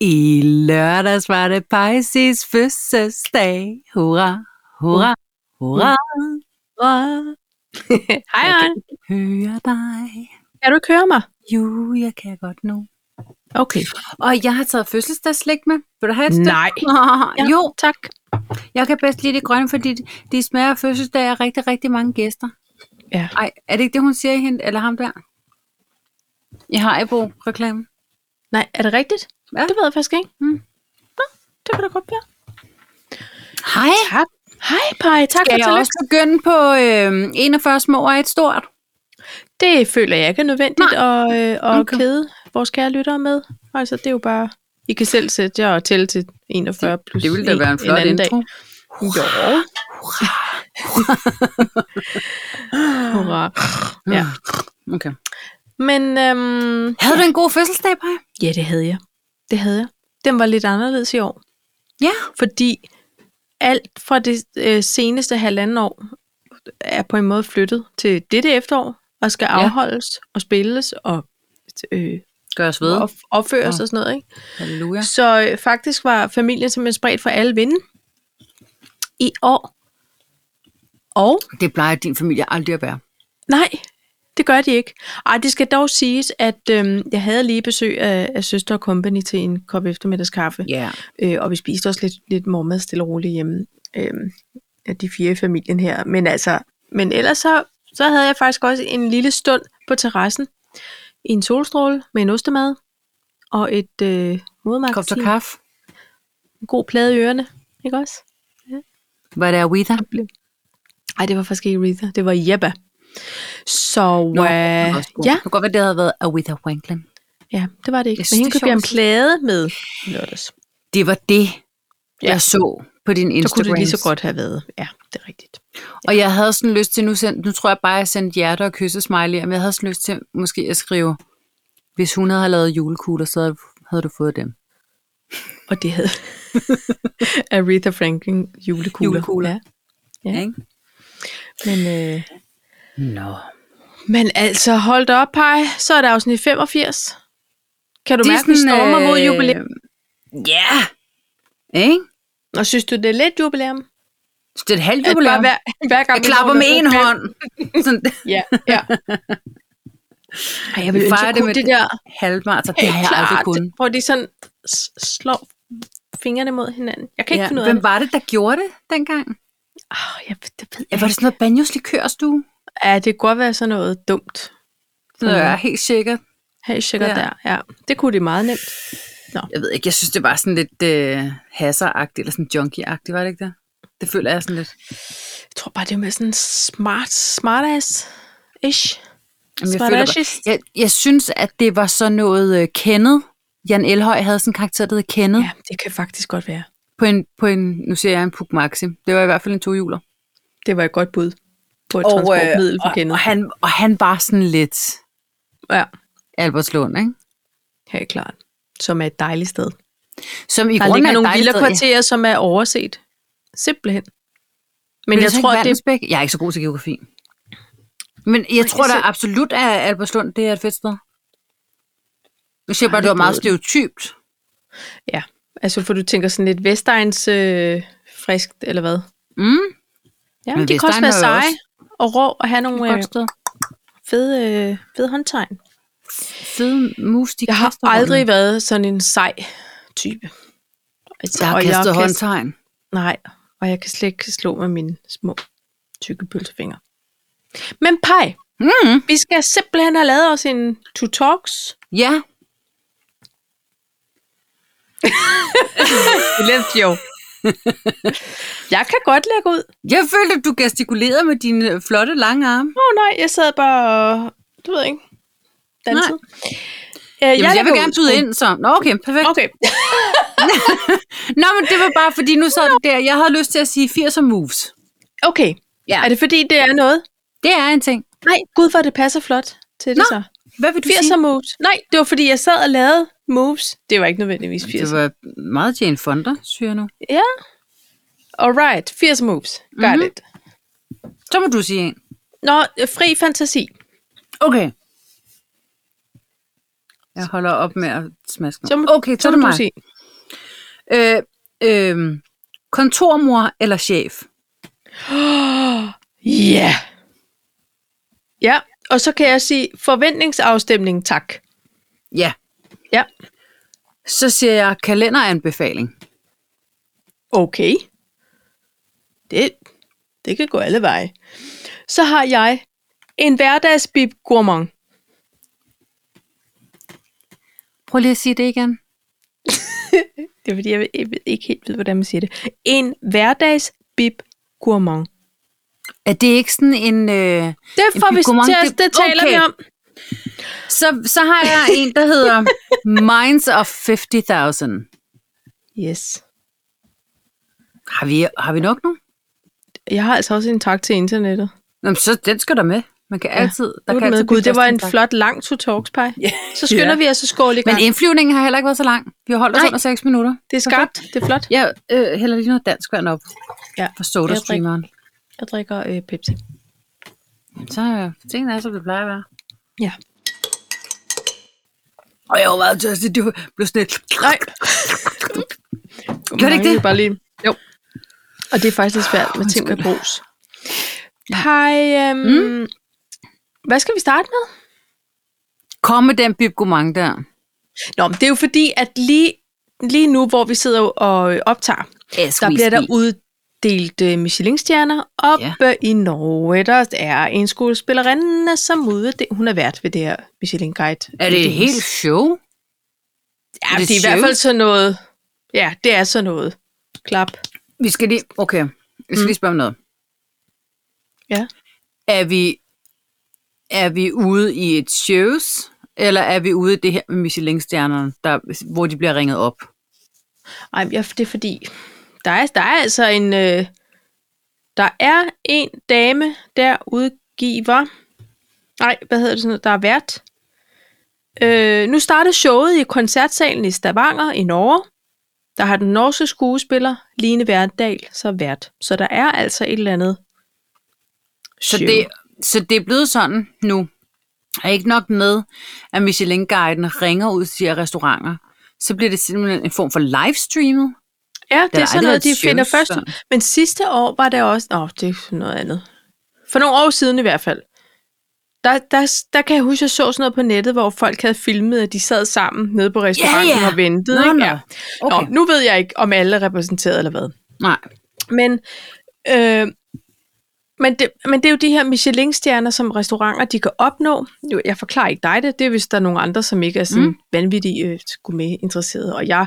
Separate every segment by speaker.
Speaker 1: I lørdags var det Pisces fødselsdag. Hurra, hurra, hurra, hurra.
Speaker 2: Hej,
Speaker 1: Okay.
Speaker 2: Arne.
Speaker 1: Hører dig.
Speaker 2: Kan du ikke høre mig?
Speaker 1: Jo, jeg kan godt nu.
Speaker 2: Okay.
Speaker 1: Og jeg har taget fødselsdagslæg med. Vil du have et stykke?
Speaker 2: Nej.
Speaker 1: Ja. Jo,
Speaker 2: tak.
Speaker 1: jeg kan bedst lide det grønne, fordi de smager af fødselsdag af rigtig, rigtig mange gæster.
Speaker 2: Ja.
Speaker 1: Ej, er det ikke det, hun siger i hende, eller ham der? Jeg har Ebo-reklame.
Speaker 2: Nej, er det rigtigt?
Speaker 1: Ja.
Speaker 2: Det ved jeg faktisk ikke.
Speaker 1: Mm.
Speaker 2: Nå, det kan da godt være.
Speaker 1: Hej.
Speaker 2: Tak. Hej, Paj. Tak
Speaker 1: Skal
Speaker 2: for
Speaker 1: jeg
Speaker 2: tillykke.
Speaker 1: også begynde på øh, 41 små og et stort?
Speaker 2: Det føler jeg ikke er nødvendigt at, øh, at
Speaker 1: Okay.
Speaker 2: okay. kede vores kære lyttere med. Altså, det er jo bare... I kan selv sætte jer og tælle til 41 plus en, en anden dag. Jo. Hurra. Ja.
Speaker 1: Hmm. Okay.
Speaker 2: Men øhm,
Speaker 1: Havde du en god fødselsdag, Paj?
Speaker 2: ja, det havde jeg. Det havde jeg. Den var lidt anderledes i år.
Speaker 1: Ja.
Speaker 2: fordi alt fra det øh, seneste halvanden år er på en måde flyttet til dette efterår, og skal
Speaker 1: Ja.
Speaker 2: afholdes og spilles og øh,
Speaker 1: Gør os
Speaker 2: op, opføres
Speaker 1: Nå.
Speaker 2: og sådan noget. Ikke?
Speaker 1: Halleluja.
Speaker 2: Så øh, faktisk var familien simpelthen spredt for alle vinde i år. Og
Speaker 1: Det plejer din familie aldrig at være.
Speaker 2: nej, det gør de ikke. Ej, det skal dog siges, at øh, jeg havde lige besøg af, af Søster og Company til en kop eftermiddagskaffe.
Speaker 1: Ja.
Speaker 2: Øh, og vi spiste også lidt, lidt mormad stille og roligt hjemme. Øh, af de fire i familien her. Men altså, men ellers så, så havde jeg faktisk også en lille stund på terrassen. I en solstråle med en ostemad. Og et øh,
Speaker 1: Kom til
Speaker 2: modmagasin.
Speaker 1: kaffe.
Speaker 2: En god plade i ørerne. Ikke også?
Speaker 1: Var det Awitha?
Speaker 2: Ej, det var faktisk ikke Aretha. Det var Jebba. Så
Speaker 1: Nå,
Speaker 2: øh,
Speaker 1: den var også god.
Speaker 2: ja,
Speaker 1: Det kunne godt være, det havde været Awitha Franklin.
Speaker 2: ja, det var det ikke.
Speaker 1: Jeg
Speaker 2: Men
Speaker 1: synes,
Speaker 2: hende
Speaker 1: det er
Speaker 2: købte jeg en
Speaker 1: sjovt.
Speaker 2: plade med i lørdags.
Speaker 1: Det var det,
Speaker 2: Ja.
Speaker 1: jeg så på din
Speaker 2: Så
Speaker 1: Instagram.
Speaker 2: kunne det lige så godt have været. Ja, det er rigtigt.
Speaker 1: Og jeg havde sådan lyst til, nu, send, nu tror jeg bare, jeg sendte hjerte og kyssesmiley, men jeg havde sådan lyst til måske at skrive, hvis hun havde lavet julekugler, så havde- havde du fået dem.
Speaker 2: Og det havde Aretha Franklin julekugler.
Speaker 1: Julekugler.
Speaker 2: Ja.
Speaker 1: Ja.
Speaker 2: Ja.
Speaker 1: Ikke?
Speaker 2: Men, øh,
Speaker 1: Nå.
Speaker 2: men altså, hold da op, Paj. Så er det afsnit 85. Kan du
Speaker 1: Det er
Speaker 2: mærke, at vi
Speaker 1: sådan,
Speaker 2: stormer mod
Speaker 1: øh,
Speaker 2: jubilæum?
Speaker 1: Ja! Ikke?
Speaker 2: Og synes du, det er lidt jubilæum?
Speaker 1: Så det er et halvt
Speaker 2: At
Speaker 1: jubilæum.
Speaker 2: bare hver, hver gang
Speaker 1: Jeg
Speaker 2: vi
Speaker 1: klapper
Speaker 2: når
Speaker 1: med
Speaker 2: noget
Speaker 1: en
Speaker 2: fedt.
Speaker 1: hånd. Sådan,
Speaker 2: Ja, ja. Ej, jeg
Speaker 1: Vi
Speaker 2: vil ønske,
Speaker 1: fejrer
Speaker 2: jeg
Speaker 1: det
Speaker 2: kunne
Speaker 1: med
Speaker 2: det der.
Speaker 1: halvmarathon. altså, Det har jeg aldrig kunnet.
Speaker 2: Hvor de sådan s- slår fingrene mod hinanden. Jeg kan ikke
Speaker 1: Ja.
Speaker 2: ja, finde ud af
Speaker 1: Hvem
Speaker 2: det.
Speaker 1: var det, der gjorde det dengang?
Speaker 2: Oh, jeg, det ved
Speaker 1: Ja,
Speaker 2: jeg.
Speaker 1: var det sådan noget banjoslikørstue?
Speaker 2: ikke. Ja, det kunne godt være sådan noget dumt.
Speaker 1: Det er jeg helt sikkert.
Speaker 2: Hey, sugar
Speaker 1: Ja.
Speaker 2: ja. der. Ja, det kunne de meget nemt.
Speaker 1: Jeg ved ikke, jeg synes, det var sådan lidt øh, hasseragtigt, eller sådan junkie-agtigt, var det ikke det? Det føler jeg sådan lidt.
Speaker 2: Jeg tror bare, det er med sådan smart, smartass-ish.
Speaker 1: Jamen, jeg, føler, bare-
Speaker 2: Smartass-ish.
Speaker 1: jeg, jeg synes, at det var sådan noget øh, kendet. Jan Elhøj havde sådan en karakter, der hed Kenneth. Ja.
Speaker 2: Ja, det kan faktisk godt være.
Speaker 1: På, en, på en, nu siger jeg en Puk Maxi. Det var i hvert fald en tohjuler.
Speaker 2: Det var et godt bud på et og, transportmiddel for
Speaker 1: øh, og,
Speaker 2: kendet.
Speaker 1: og, han, og han var sådan lidt
Speaker 2: Ja,
Speaker 1: Albertslund, ikke?
Speaker 2: helt klart. Som er et dejligt sted.
Speaker 1: Som i
Speaker 2: Der
Speaker 1: grunden
Speaker 2: ligger
Speaker 1: er
Speaker 2: nogle
Speaker 1: dejligt sted. Ja.
Speaker 2: villakvarterer, som er overset. Simpelthen. Men
Speaker 1: Vil
Speaker 2: jeg
Speaker 1: så ikke
Speaker 2: tror, det,
Speaker 1: Vallensbæk? Jeg er ikke så god til geografi. Men jeg tror
Speaker 2: jeg
Speaker 1: da
Speaker 2: ser-
Speaker 1: absolut, at Albertslund det er et fedt sted. Nu siger jeg bare,
Speaker 2: Ej,
Speaker 1: det var
Speaker 2: det
Speaker 1: meget
Speaker 2: ved
Speaker 1: stereotypt.
Speaker 2: ja, altså for du tænker sådan lidt Vestegns øh, friskt, eller hvad?
Speaker 1: Mm,
Speaker 2: Ja,
Speaker 1: Men
Speaker 2: men de kan også
Speaker 1: Vestegn
Speaker 2: være
Speaker 1: var jo
Speaker 2: seje og rå og have
Speaker 1: et
Speaker 2: nogle øh,
Speaker 1: godt sted.
Speaker 2: fede, øh, fede håndtegn.
Speaker 1: Fede mus, de
Speaker 2: Jeg har
Speaker 1: kaster rundt.
Speaker 2: aldrig været sådan en sej type. Altså,
Speaker 1: Der har
Speaker 2: og jeg
Speaker 1: kastet
Speaker 2: kan-
Speaker 1: håndtegn.
Speaker 2: Nej, og jeg kan slet ikke slå med mine små tykke pølsefingre. Men pej,
Speaker 1: Mm.
Speaker 2: vi skal simpelthen have lavet os en to talks.
Speaker 1: Ja,
Speaker 2: jo. jeg kan godt lægge ud.
Speaker 1: jeg følte, at du gestikulerede med dine øh, flotte lange arme.
Speaker 2: Åh oh, nej, jeg sad bare og, du ved ikke, Øh, dansede. Nej.
Speaker 1: Jamen, jeg, jeg vil gerne byde ind, så. Nå, okay, perfekt.
Speaker 2: Oh, Okay,
Speaker 1: Nå, men det var bare, fordi nu sad du der. Jeg havde lyst til at sige 80'er moves.
Speaker 2: okay.
Speaker 1: Ja.
Speaker 2: Ja. Er det fordi, det er noget?
Speaker 1: Det er en ting.
Speaker 2: Nej, gud, hvor det passer flot til det
Speaker 1: Nå.
Speaker 2: så.
Speaker 1: Hvad vil du
Speaker 2: 80'er
Speaker 1: sige?
Speaker 2: moves. Nej, det var fordi, jeg sad og lavede moves. Det var ikke nødvendigvis 80'er.
Speaker 1: Det var meget Jane Fonda, siger jeg nu.
Speaker 2: Ja. Alright, 80 moves. Got
Speaker 1: Mhm.
Speaker 2: mm-hmm. it.
Speaker 1: Så må du sige en.
Speaker 2: Nå, øh, fri fantasi.
Speaker 1: Okay. Jeg holder op med at smaske mig.
Speaker 2: Så må-
Speaker 1: okay, så
Speaker 2: Så
Speaker 1: er
Speaker 2: må
Speaker 1: det
Speaker 2: du
Speaker 1: mig.
Speaker 2: sige.
Speaker 1: Øh, øh, kontormor eller chef?
Speaker 2: Ja. Ja, og så kan jeg sige forventningsafstemning, tak.
Speaker 1: Ja.
Speaker 2: Ja.
Speaker 1: Så siger jeg kalenderanbefaling.
Speaker 2: Okay. Det, det kan gå alle veje. Så har jeg en hverdagsbib gourmand.
Speaker 1: Prøv lige at sige det igen.
Speaker 2: Det er fordi, jeg ved- jeg ved ikke helt ved, hvordan man siger det. En hverdagsbib gourmand.
Speaker 1: Er det ikke sådan en... Øh,
Speaker 2: Det
Speaker 1: En
Speaker 2: får
Speaker 1: bib
Speaker 2: vi
Speaker 1: gourmand,
Speaker 2: til os,
Speaker 1: det-
Speaker 2: det taler
Speaker 1: okay.
Speaker 2: vi om.
Speaker 1: så, så har jeg en, der hedder Minds of 50.000.
Speaker 2: Yes.
Speaker 1: Har vi, har vi nok nu?
Speaker 2: Jeg har altså også en tak til internettet.
Speaker 1: Nå, men så den skal der med. Man kan altid...
Speaker 2: Der
Speaker 1: kan
Speaker 2: kan med.
Speaker 1: altid
Speaker 2: Gud,
Speaker 1: blive
Speaker 2: det var
Speaker 1: plads til
Speaker 2: en
Speaker 1: tak.
Speaker 2: flot lang to talks pie. Yeah. Så skynder
Speaker 1: Ja.
Speaker 2: vi os at skåle i gang.
Speaker 1: Men indflyvningen har heller ikke været så lang. Vi har holdt os
Speaker 2: Nej.
Speaker 1: under 6 minutter.
Speaker 2: det er skarpt, det er flot.
Speaker 1: Jeg øh, hælder lige noget dansk vand op
Speaker 2: Ja.
Speaker 1: på sodastreameren.
Speaker 2: Jeg drikker øh, Pepsi.
Speaker 1: Så øh, tingene er, som det plejer at være.
Speaker 2: Ja.
Speaker 1: Og jeg var meget tørstig. Det blev sådan et...
Speaker 2: Nej.
Speaker 1: Gjorde det ikke det?
Speaker 2: Bare lige. Jo. Og det er faktisk lidt svært med ting med brus. Hej. Øhm, mm. Hvad skal vi starte med?
Speaker 1: Kom med den bibgomang der.
Speaker 2: Nå, men det er jo fordi, at lige, lige nu, hvor vi sidder og øh, optager,
Speaker 1: As
Speaker 2: der
Speaker 1: we
Speaker 2: bliver der
Speaker 1: speak.
Speaker 2: uddelt øh, Michelin-stjerner oppe ja. i Norge. Der er en skuespillerinde, som ude, det, hun er vært ved det her Michelin Guide.
Speaker 1: Er det et helt show?
Speaker 2: Ja,
Speaker 1: er det
Speaker 2: det er i hvert
Speaker 1: shows?
Speaker 2: fald sådan noget. Ja, det er sådan noget. Klap.
Speaker 1: Vi skal lige... Okay. Vi skal lige spørge om noget.
Speaker 2: Mm. Ja.
Speaker 1: Er vi... Er vi ude i et shows? Eller er vi ude i det her med Michelin-stjernerne, der, hvor de bliver ringet op?
Speaker 2: Ej, men jeg, det er fordi, der er, der er altså en, øh, der er en dame, der udgiver, nej, hvad hedder det sådan noget, der er vært. Øh, nu starter showet i koncertsalen i Stavanger i Norge. Der har den norske skuespiller Line Verndal så vært. Så der er altså et eller andet
Speaker 1: Så
Speaker 2: show.
Speaker 1: det, så det er blevet sådan nu. Er ikke nok med, at Michelin-guiden ringer ud til restauranter. Så bliver det simpelthen en form for livestreamet.
Speaker 2: Ja, det,
Speaker 1: har
Speaker 2: det er
Speaker 1: aldrig
Speaker 2: sådan noget,
Speaker 1: været
Speaker 2: de finder
Speaker 1: shows
Speaker 2: først.
Speaker 1: før.
Speaker 2: Men sidste år var det også... Nå, det er sådan noget andet. For nogle år siden i hvert fald. Der, der, der kan jeg huske, at jeg så sådan noget på nettet, hvor folk havde filmet, at de sad sammen nede på restauranten
Speaker 1: ja.
Speaker 2: og ventede.
Speaker 1: Nå,
Speaker 2: ikke?
Speaker 1: nå.
Speaker 2: Ja.
Speaker 1: Okay.
Speaker 2: Nå, nu ved jeg ikke, om alle er repræsenteret eller hvad.
Speaker 1: Nej.
Speaker 2: Men, øh, men, det, men det er jo de her Michelin-stjerner, som restauranter de kan opnå. Jo, Jeg forklarer ikke dig det, det er hvis der er nogen andre, som ikke er sådan mm. vanvittige øh, gourmet-interesserede. Og jeg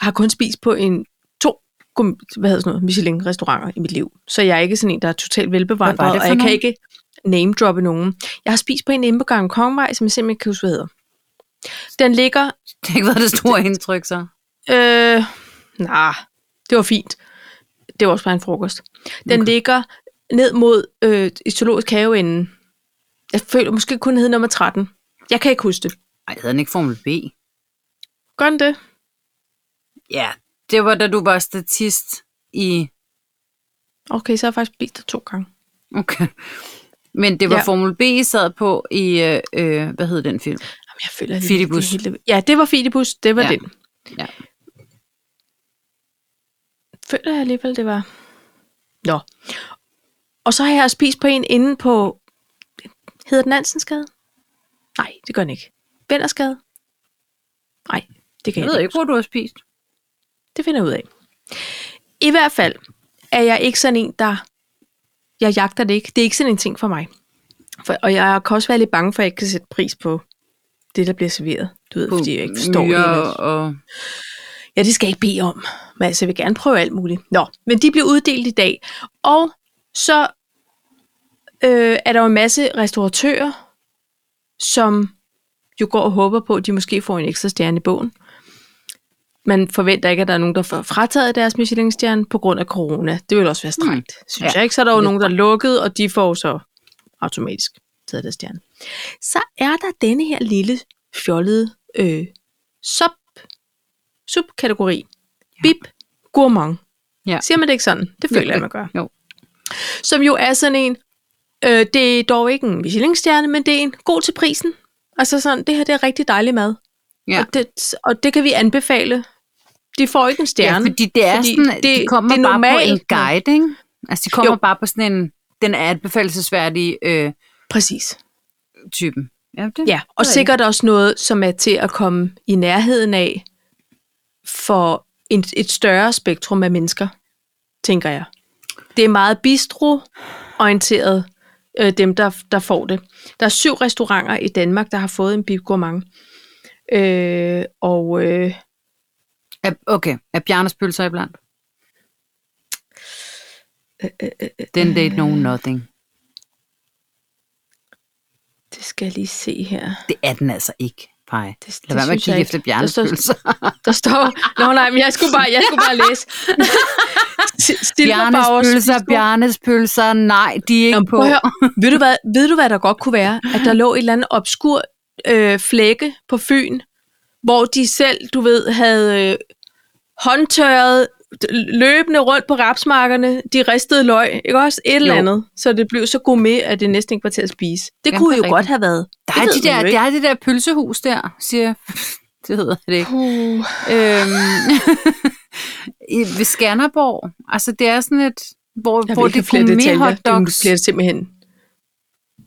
Speaker 2: har kun spist på en to gourmet- hvad hedder sådan noget, Michelin-restauranter i mit liv. Så jeg er ikke sådan en, der er totalt
Speaker 1: Hvad var det
Speaker 2: velbevandret,
Speaker 1: for
Speaker 2: og jeg kan
Speaker 1: nogen?
Speaker 2: ikke name-droppe nogen. Jeg har spist på en inde på Gangen Kongvej, som jeg simpelthen ikke kan huske, hvad hedder. Den ligger
Speaker 1: Det har ikke været det store indtryk, så.
Speaker 2: Øh, nej, det var fint. Det var også bare en frokost. Den okay. ligger ned mod øh, i zoologisk haveenden. Jeg føler måske kun hed nummer 13. Jeg kan ikke huske det.
Speaker 1: Ej, havde den ikke Formel B?
Speaker 2: Gør den det?
Speaker 1: Ja, det var da du var statist i...
Speaker 2: Okay, så har jeg faktisk spist det to gange.
Speaker 1: Okay. Men det var
Speaker 2: Ja.
Speaker 1: ja. Formel B, I sad på i... øh, Øh, hvad hed den film?
Speaker 2: Jamen, jeg føler, alligevel,
Speaker 1: Fidibus.
Speaker 2: Det er helt... Ja, det var Fidibus. Det var
Speaker 1: Ja.
Speaker 2: ja. det.
Speaker 1: Ja.
Speaker 2: Føler jeg alligevel, det var... Nå. Og så har jeg spist på en inde på... Hedder den Hansensgade? Nej, det gør den ikke. Vennersgade? Nej, det kan
Speaker 1: Jeg
Speaker 2: jeg,
Speaker 1: ved ikke, hvor du har spist.
Speaker 2: Det finder jeg ud af. I hvert fald er jeg ikke sådan en, der... Jeg jagter det ikke. Det er ikke sådan en ting for mig. For, og jeg kan også være lidt bange for, at jeg ikke kan sætte pris på det, der bliver serveret. Du ved, fordi jeg ikke forstår det.
Speaker 1: myrer
Speaker 2: eller-
Speaker 1: og...
Speaker 2: Ja, det skal jeg ikke bede om. Men altså, jeg vil gerne prøve alt muligt. Nå, men de bliver uddelt i dag. Og så øh, er der jo en masse restauratører, som jo går og håber på, at de måske får en ekstra stjerne i bogen. Man forventer ikke, at der er nogen, der får frataget deres Michelin-stjerne på grund af corona. Det vil også være strengt, mm. synes
Speaker 1: Ja,
Speaker 2: ja. jeg ikke. Så er der jo
Speaker 1: lidt
Speaker 2: nogen, der er lukket, og de får så automatisk taget deres stjerne. Så er der denne her lille fjollede øh, sub, subkategori. Ja. Bip gourmand.
Speaker 1: Ja.
Speaker 2: Siger man det ikke sådan? Det føler
Speaker 1: Jo,
Speaker 2: jeg, man gør.
Speaker 1: jo.
Speaker 2: Som jo er sådan en, øh, det er dog ikke en Michelin-stjerne, men det er en god til prisen. Altså sådan, det her det er rigtig dejlig mad.
Speaker 1: Ja.
Speaker 2: Og, det, og det kan vi anbefale. De får ikke en stjerne.
Speaker 1: Ja, fordi det er
Speaker 2: Fordi
Speaker 1: fordi sådan, det, de
Speaker 2: det-
Speaker 1: kommer
Speaker 2: det er
Speaker 1: bare på en
Speaker 2: normalt, når-
Speaker 1: guide, ikke? Altså, de kommer
Speaker 2: Jo.
Speaker 1: jo. bare på sådan en, den er anbefalesværdige øh,
Speaker 2: Præcis.
Speaker 1: typen. Ja, det,
Speaker 2: Ja, og
Speaker 1: det er
Speaker 2: sikkert også noget, som er til at komme i nærheden af for en, et større spektrum af mennesker, tænker jeg. Det er meget bistro-orienteret, øh, dem der, der får det. Der er syv restauranter i Danmark, der har fået en bibgourmand. Øh, og øh,
Speaker 1: rigtigt. Er, okay, er Bjarnes pølser iblandt?
Speaker 2: Øh,
Speaker 1: Den date no nothing.
Speaker 2: det skal jeg lige se her.
Speaker 1: Det er den altså ikke, Paj.
Speaker 2: Det,
Speaker 1: Lad være med at
Speaker 2: synes jeg
Speaker 1: kigge
Speaker 2: ikke.
Speaker 1: efter Bjarnes
Speaker 2: Der står-
Speaker 1: pølser.
Speaker 2: Der står... Nå nej, men jeg skulle bare, jeg skulle bare læse. S-
Speaker 1: Bjarnes
Speaker 2: Silberbauers
Speaker 1: pølser,
Speaker 2: bistro.
Speaker 1: Bjarnes pølser, nej, de er ikke
Speaker 2: Jamen,
Speaker 1: på.
Speaker 2: prøv at høre. ved, du hvad, ved du, hvad der godt kunne være? At der lå et eller andet obskur øh, flække på Fyn, hvor de selv, du ved, havde øh, håndtørret d- løbende rundt på rapsmarkerne, de ristede løg, ikke også? Et eller
Speaker 1: Jo.
Speaker 2: andet, så det blev så gourmet, at det næsten ikke var til at spise. Det
Speaker 1: Jamen,
Speaker 2: kunne
Speaker 1: det
Speaker 2: jo
Speaker 1: er
Speaker 2: godt have været.
Speaker 1: Der
Speaker 2: Det
Speaker 1: er,
Speaker 2: ved
Speaker 1: de
Speaker 2: man
Speaker 1: der,
Speaker 2: jo ikke.
Speaker 1: der er det der pølsehus der, siger Det hedder det ikke.
Speaker 2: Puh.
Speaker 1: Øhm, i, ved Skanderborg. Altså, det er sådan et, hvor,
Speaker 2: Jeg
Speaker 1: hvor
Speaker 2: vil ikke
Speaker 1: det
Speaker 2: have flere
Speaker 1: kunne
Speaker 2: detaljer.
Speaker 1: hot dogs.
Speaker 2: Det bliver simpelthen...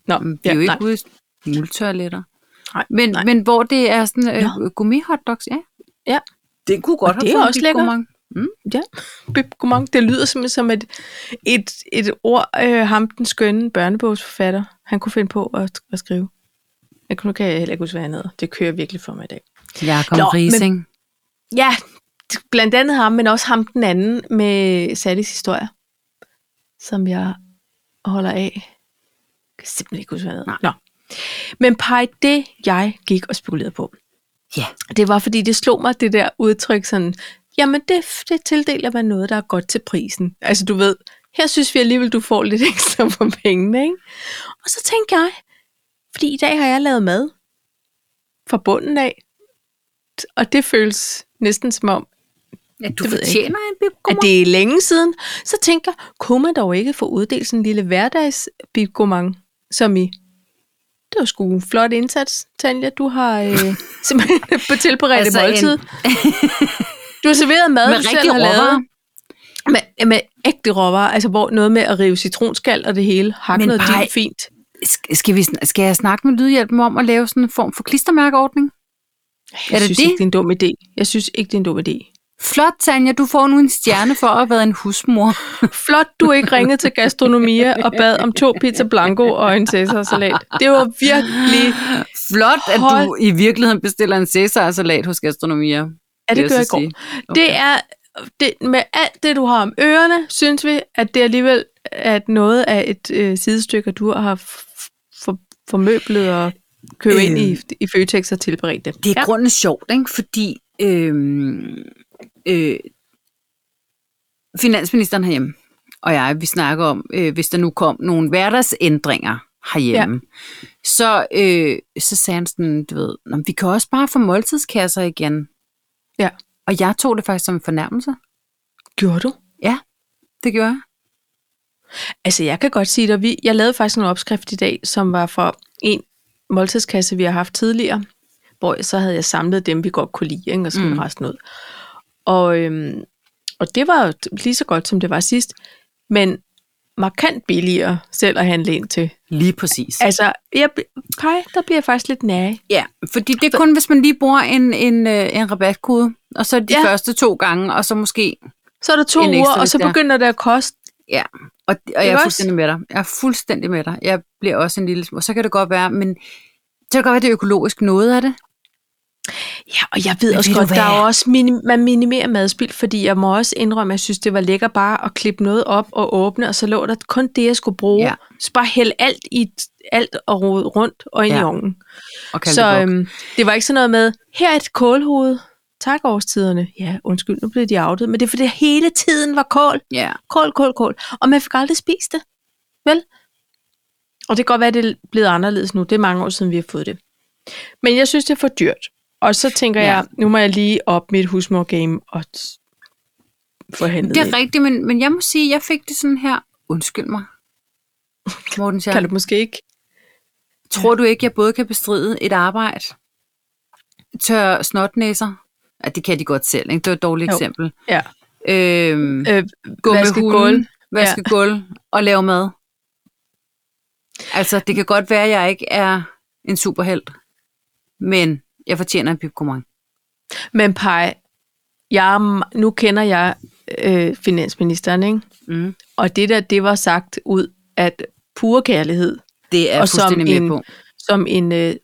Speaker 2: Nå,
Speaker 1: Mm, Vi er
Speaker 2: ja,
Speaker 1: jo
Speaker 2: nej.
Speaker 1: ikke ude i multoiletter.
Speaker 2: Nej,
Speaker 1: men,
Speaker 2: nej.
Speaker 1: men hvor det er sådan
Speaker 2: Nå.
Speaker 1: øh, gourmet hotdogs, ja.
Speaker 2: Ja.
Speaker 1: Det kunne godt
Speaker 2: Og det er
Speaker 1: fået en
Speaker 2: også
Speaker 1: big
Speaker 2: lækkert.
Speaker 1: gourmand.
Speaker 2: Ja, Bip Gourmand. Det lyder simpelthen som et, et, et ord, øh, ham den skønne børnebogsforfatter, han kunne finde på at, at skrive. Jeg kunne, nu kan jeg heller ikke huske, hvad han hedder. Det kører virkelig for mig i dag.
Speaker 1: Jakob
Speaker 2: Nå,
Speaker 1: Rising.
Speaker 2: Ja, blandt andet ham, men også ham den anden med Sallys historier, som jeg holder af. Jeg kan simpelthen ikke huske, hvad han hedder. Nå. Men pej, det jeg gik og spekulerede på,
Speaker 1: Ja.
Speaker 2: det var, fordi det slog mig, det der udtryk sådan, jamen det, det tildeler man noget, der er godt til prisen. Altså du ved, her synes vi alligevel, du får lidt ekstra for pengene, ikke? Og så tænkte jeg, fordi i dag har jeg lavet mad fra bunden af, og det føles næsten som om,
Speaker 1: Ja, du
Speaker 2: det ved jeg
Speaker 1: fortjener en big
Speaker 2: at
Speaker 1: gourmand.
Speaker 2: det er længe siden, så tænker jeg, kunne man dog ikke få uddelt sådan en lille hverdagsbigomang, som i, det var sgu en flot indsats, Tanja, du har øh, simpelthen på tilberedt
Speaker 1: Altså
Speaker 2: altså
Speaker 1: en-
Speaker 2: måltid. du har serveret mad,
Speaker 1: Med
Speaker 2: du
Speaker 1: rigtige
Speaker 2: selv har
Speaker 1: råvarer.
Speaker 2: lavet. Med, med ægte råvarer, altså hvor noget med at rive citronskal og det hele, hakke
Speaker 1: Men
Speaker 2: noget
Speaker 1: bare-
Speaker 2: dild fint.
Speaker 1: Sk- Skal, vi, sn- skal jeg snakke med Lydhjælpen om at lave sådan en form for klistermærkeordning?
Speaker 2: Jeg
Speaker 1: det
Speaker 2: synes
Speaker 1: det?
Speaker 2: ikke, det er en dum idé. Jeg synes ikke, det er en dum idé.
Speaker 1: Flot, Tanja, du får nu en stjerne for at have været en husmor.
Speaker 2: Flot, du ikke ringede til Gastronomia og bad om to pizza blanco og en cæsarsalat. Det var virkelig...
Speaker 1: Flot, at du
Speaker 2: Hold-
Speaker 1: i virkeligheden bestiller en cæsarsalat hos Gastronomia.
Speaker 2: Ja, det
Speaker 1: vil
Speaker 2: gør jeg
Speaker 1: så
Speaker 2: i går.
Speaker 1: sige.
Speaker 2: Okay. Det er, det, med alt det, du har om ørerne, synes vi, at det alligevel er noget af et øh, sidestykke, du har f- for, formøblet og købt øh, ind i, i Føtex og tilberedt det.
Speaker 1: Det er ja. grunden sjovt, ikke? fordi øhm, øh, finansministeren herhjemme og jeg, vi snakker om, øh, hvis der nu kom nogle hverdagsændringer herhjemme, ja. så, øh, så sagde han sådan, du ved, "Nå, men vi kan også bare få måltidskasser igen.
Speaker 2: Ja.
Speaker 1: Og jeg tog det faktisk som en fornærmelse.
Speaker 2: Gjorde du?
Speaker 1: Ja, det gjorde jeg.
Speaker 2: Altså, jeg kan godt sige dig, vi, jeg lavede faktisk en opskrift i dag, som var for en måltidskasse, vi har haft tidligere, hvor jeg, så havde jeg samlet dem, vi godt kunne lide, ikke, og smidt mm. resten ud. Og, øhm, og det var jo t- lige så godt, som det var sidst, men markant billigere selv at handle ind til.
Speaker 1: Lige præcis.
Speaker 2: Altså, jeg, bl- pej, der bliver jeg faktisk lidt nær.
Speaker 1: Ja, fordi det er kun, hvis man lige bruger en, en, øh, en rabatkode, og så de
Speaker 2: Ja.
Speaker 1: ja. første to gange, og så måske
Speaker 2: Så er der to
Speaker 1: En ekstra,
Speaker 2: uger, og
Speaker 1: hvis
Speaker 2: så
Speaker 1: det er.
Speaker 2: begynder det at koste.
Speaker 1: Ja, og, og jeg
Speaker 2: Ikke
Speaker 1: er
Speaker 2: også?
Speaker 1: fuldstændig med dig. Jeg er fuldstændig med dig. Jeg bliver også en lille smule. Så kan det godt være, men så kan det godt være, det er økologisk noget af det.
Speaker 2: Ja, og jeg ved
Speaker 1: Men
Speaker 2: også
Speaker 1: ved du
Speaker 2: godt, der er
Speaker 1: hvad?
Speaker 2: jo også minim- man minimerer madspild, fordi jeg må også indrømme, at jeg synes, det var lækkert bare at klippe noget op og åbne, og så lå der kun det, jeg skulle bruge.
Speaker 1: Ja.
Speaker 2: Så bare hælde alt, i, alt og rode rundt og ind ja. i
Speaker 1: Ja.
Speaker 2: ovnen.
Speaker 1: Og kalde
Speaker 2: Så
Speaker 1: det øhm,
Speaker 2: øhm, det var ikke sådan noget med, her er et kålhoved. Tak årstiderne. Ja, undskyld, nu blev de outet, men det er fordi, det hele tiden var kål.
Speaker 1: Ja,
Speaker 2: Kål, kål, kål. Og man fik aldrig spist det. Vel? Og det kan godt være, at det er blevet anderledes nu. Det er mange år siden, vi har fået det. Men jeg synes, det er for dyrt. Og så tænker
Speaker 1: Ja.
Speaker 2: ja. jeg, nu må jeg lige op mit husmor-game og t- få handlet
Speaker 1: det er
Speaker 2: ind.
Speaker 1: rigtigt, men, men jeg må sige, at jeg fik det sådan her. Undskyld mig, Morten
Speaker 2: Kan
Speaker 1: Sjern.
Speaker 2: du måske ikke?
Speaker 1: Tror du ikke, jeg både kan bestride et arbejde tør snotnæser. Ja, det kan de godt selv, ikke? Det var et dårligt
Speaker 2: Jo.
Speaker 1: eksempel.
Speaker 2: Ja.
Speaker 1: Øhm,
Speaker 2: Øh,
Speaker 1: gå
Speaker 2: vaske
Speaker 1: med hunden,
Speaker 2: gulv.
Speaker 1: vaske ja. gulv og lave mad. Altså, det kan godt være, at jeg ikke er en superhelt, men jeg fortjener en pipkomang.
Speaker 2: Men Paj, jeg, er m- nu kender jeg øh, finansministeren, ikke?
Speaker 1: Mm.
Speaker 2: Og det der, det var sagt ud at pure kærlighed,
Speaker 1: Det er jeg
Speaker 2: Og som
Speaker 1: fuldstændig med
Speaker 2: en-
Speaker 1: på.
Speaker 2: som en, øh,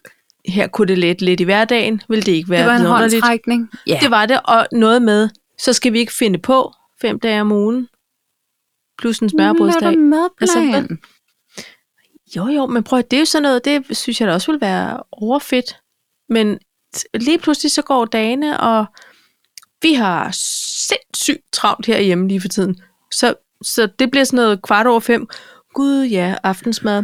Speaker 2: her kunne det lette lidt i hverdagen, vil det ikke være
Speaker 1: Det var en
Speaker 2: vidunderligt?
Speaker 1: håndtrækning. Ja,
Speaker 2: Det var det, og noget med, så skal vi ikke finde på fem dage om ugen, plus en smørbrødsdag. Altså,
Speaker 1: madplan.
Speaker 2: hvad- Jo, jo, men prøv at det er jo sådan noget, det synes jeg da også vil være overfedt. Men t- lige pludselig så går dagene, og vi har sindssygt travlt herhjemme lige for tiden. Så, så det bliver sådan noget kvart over fem. Gud ja, aftensmad.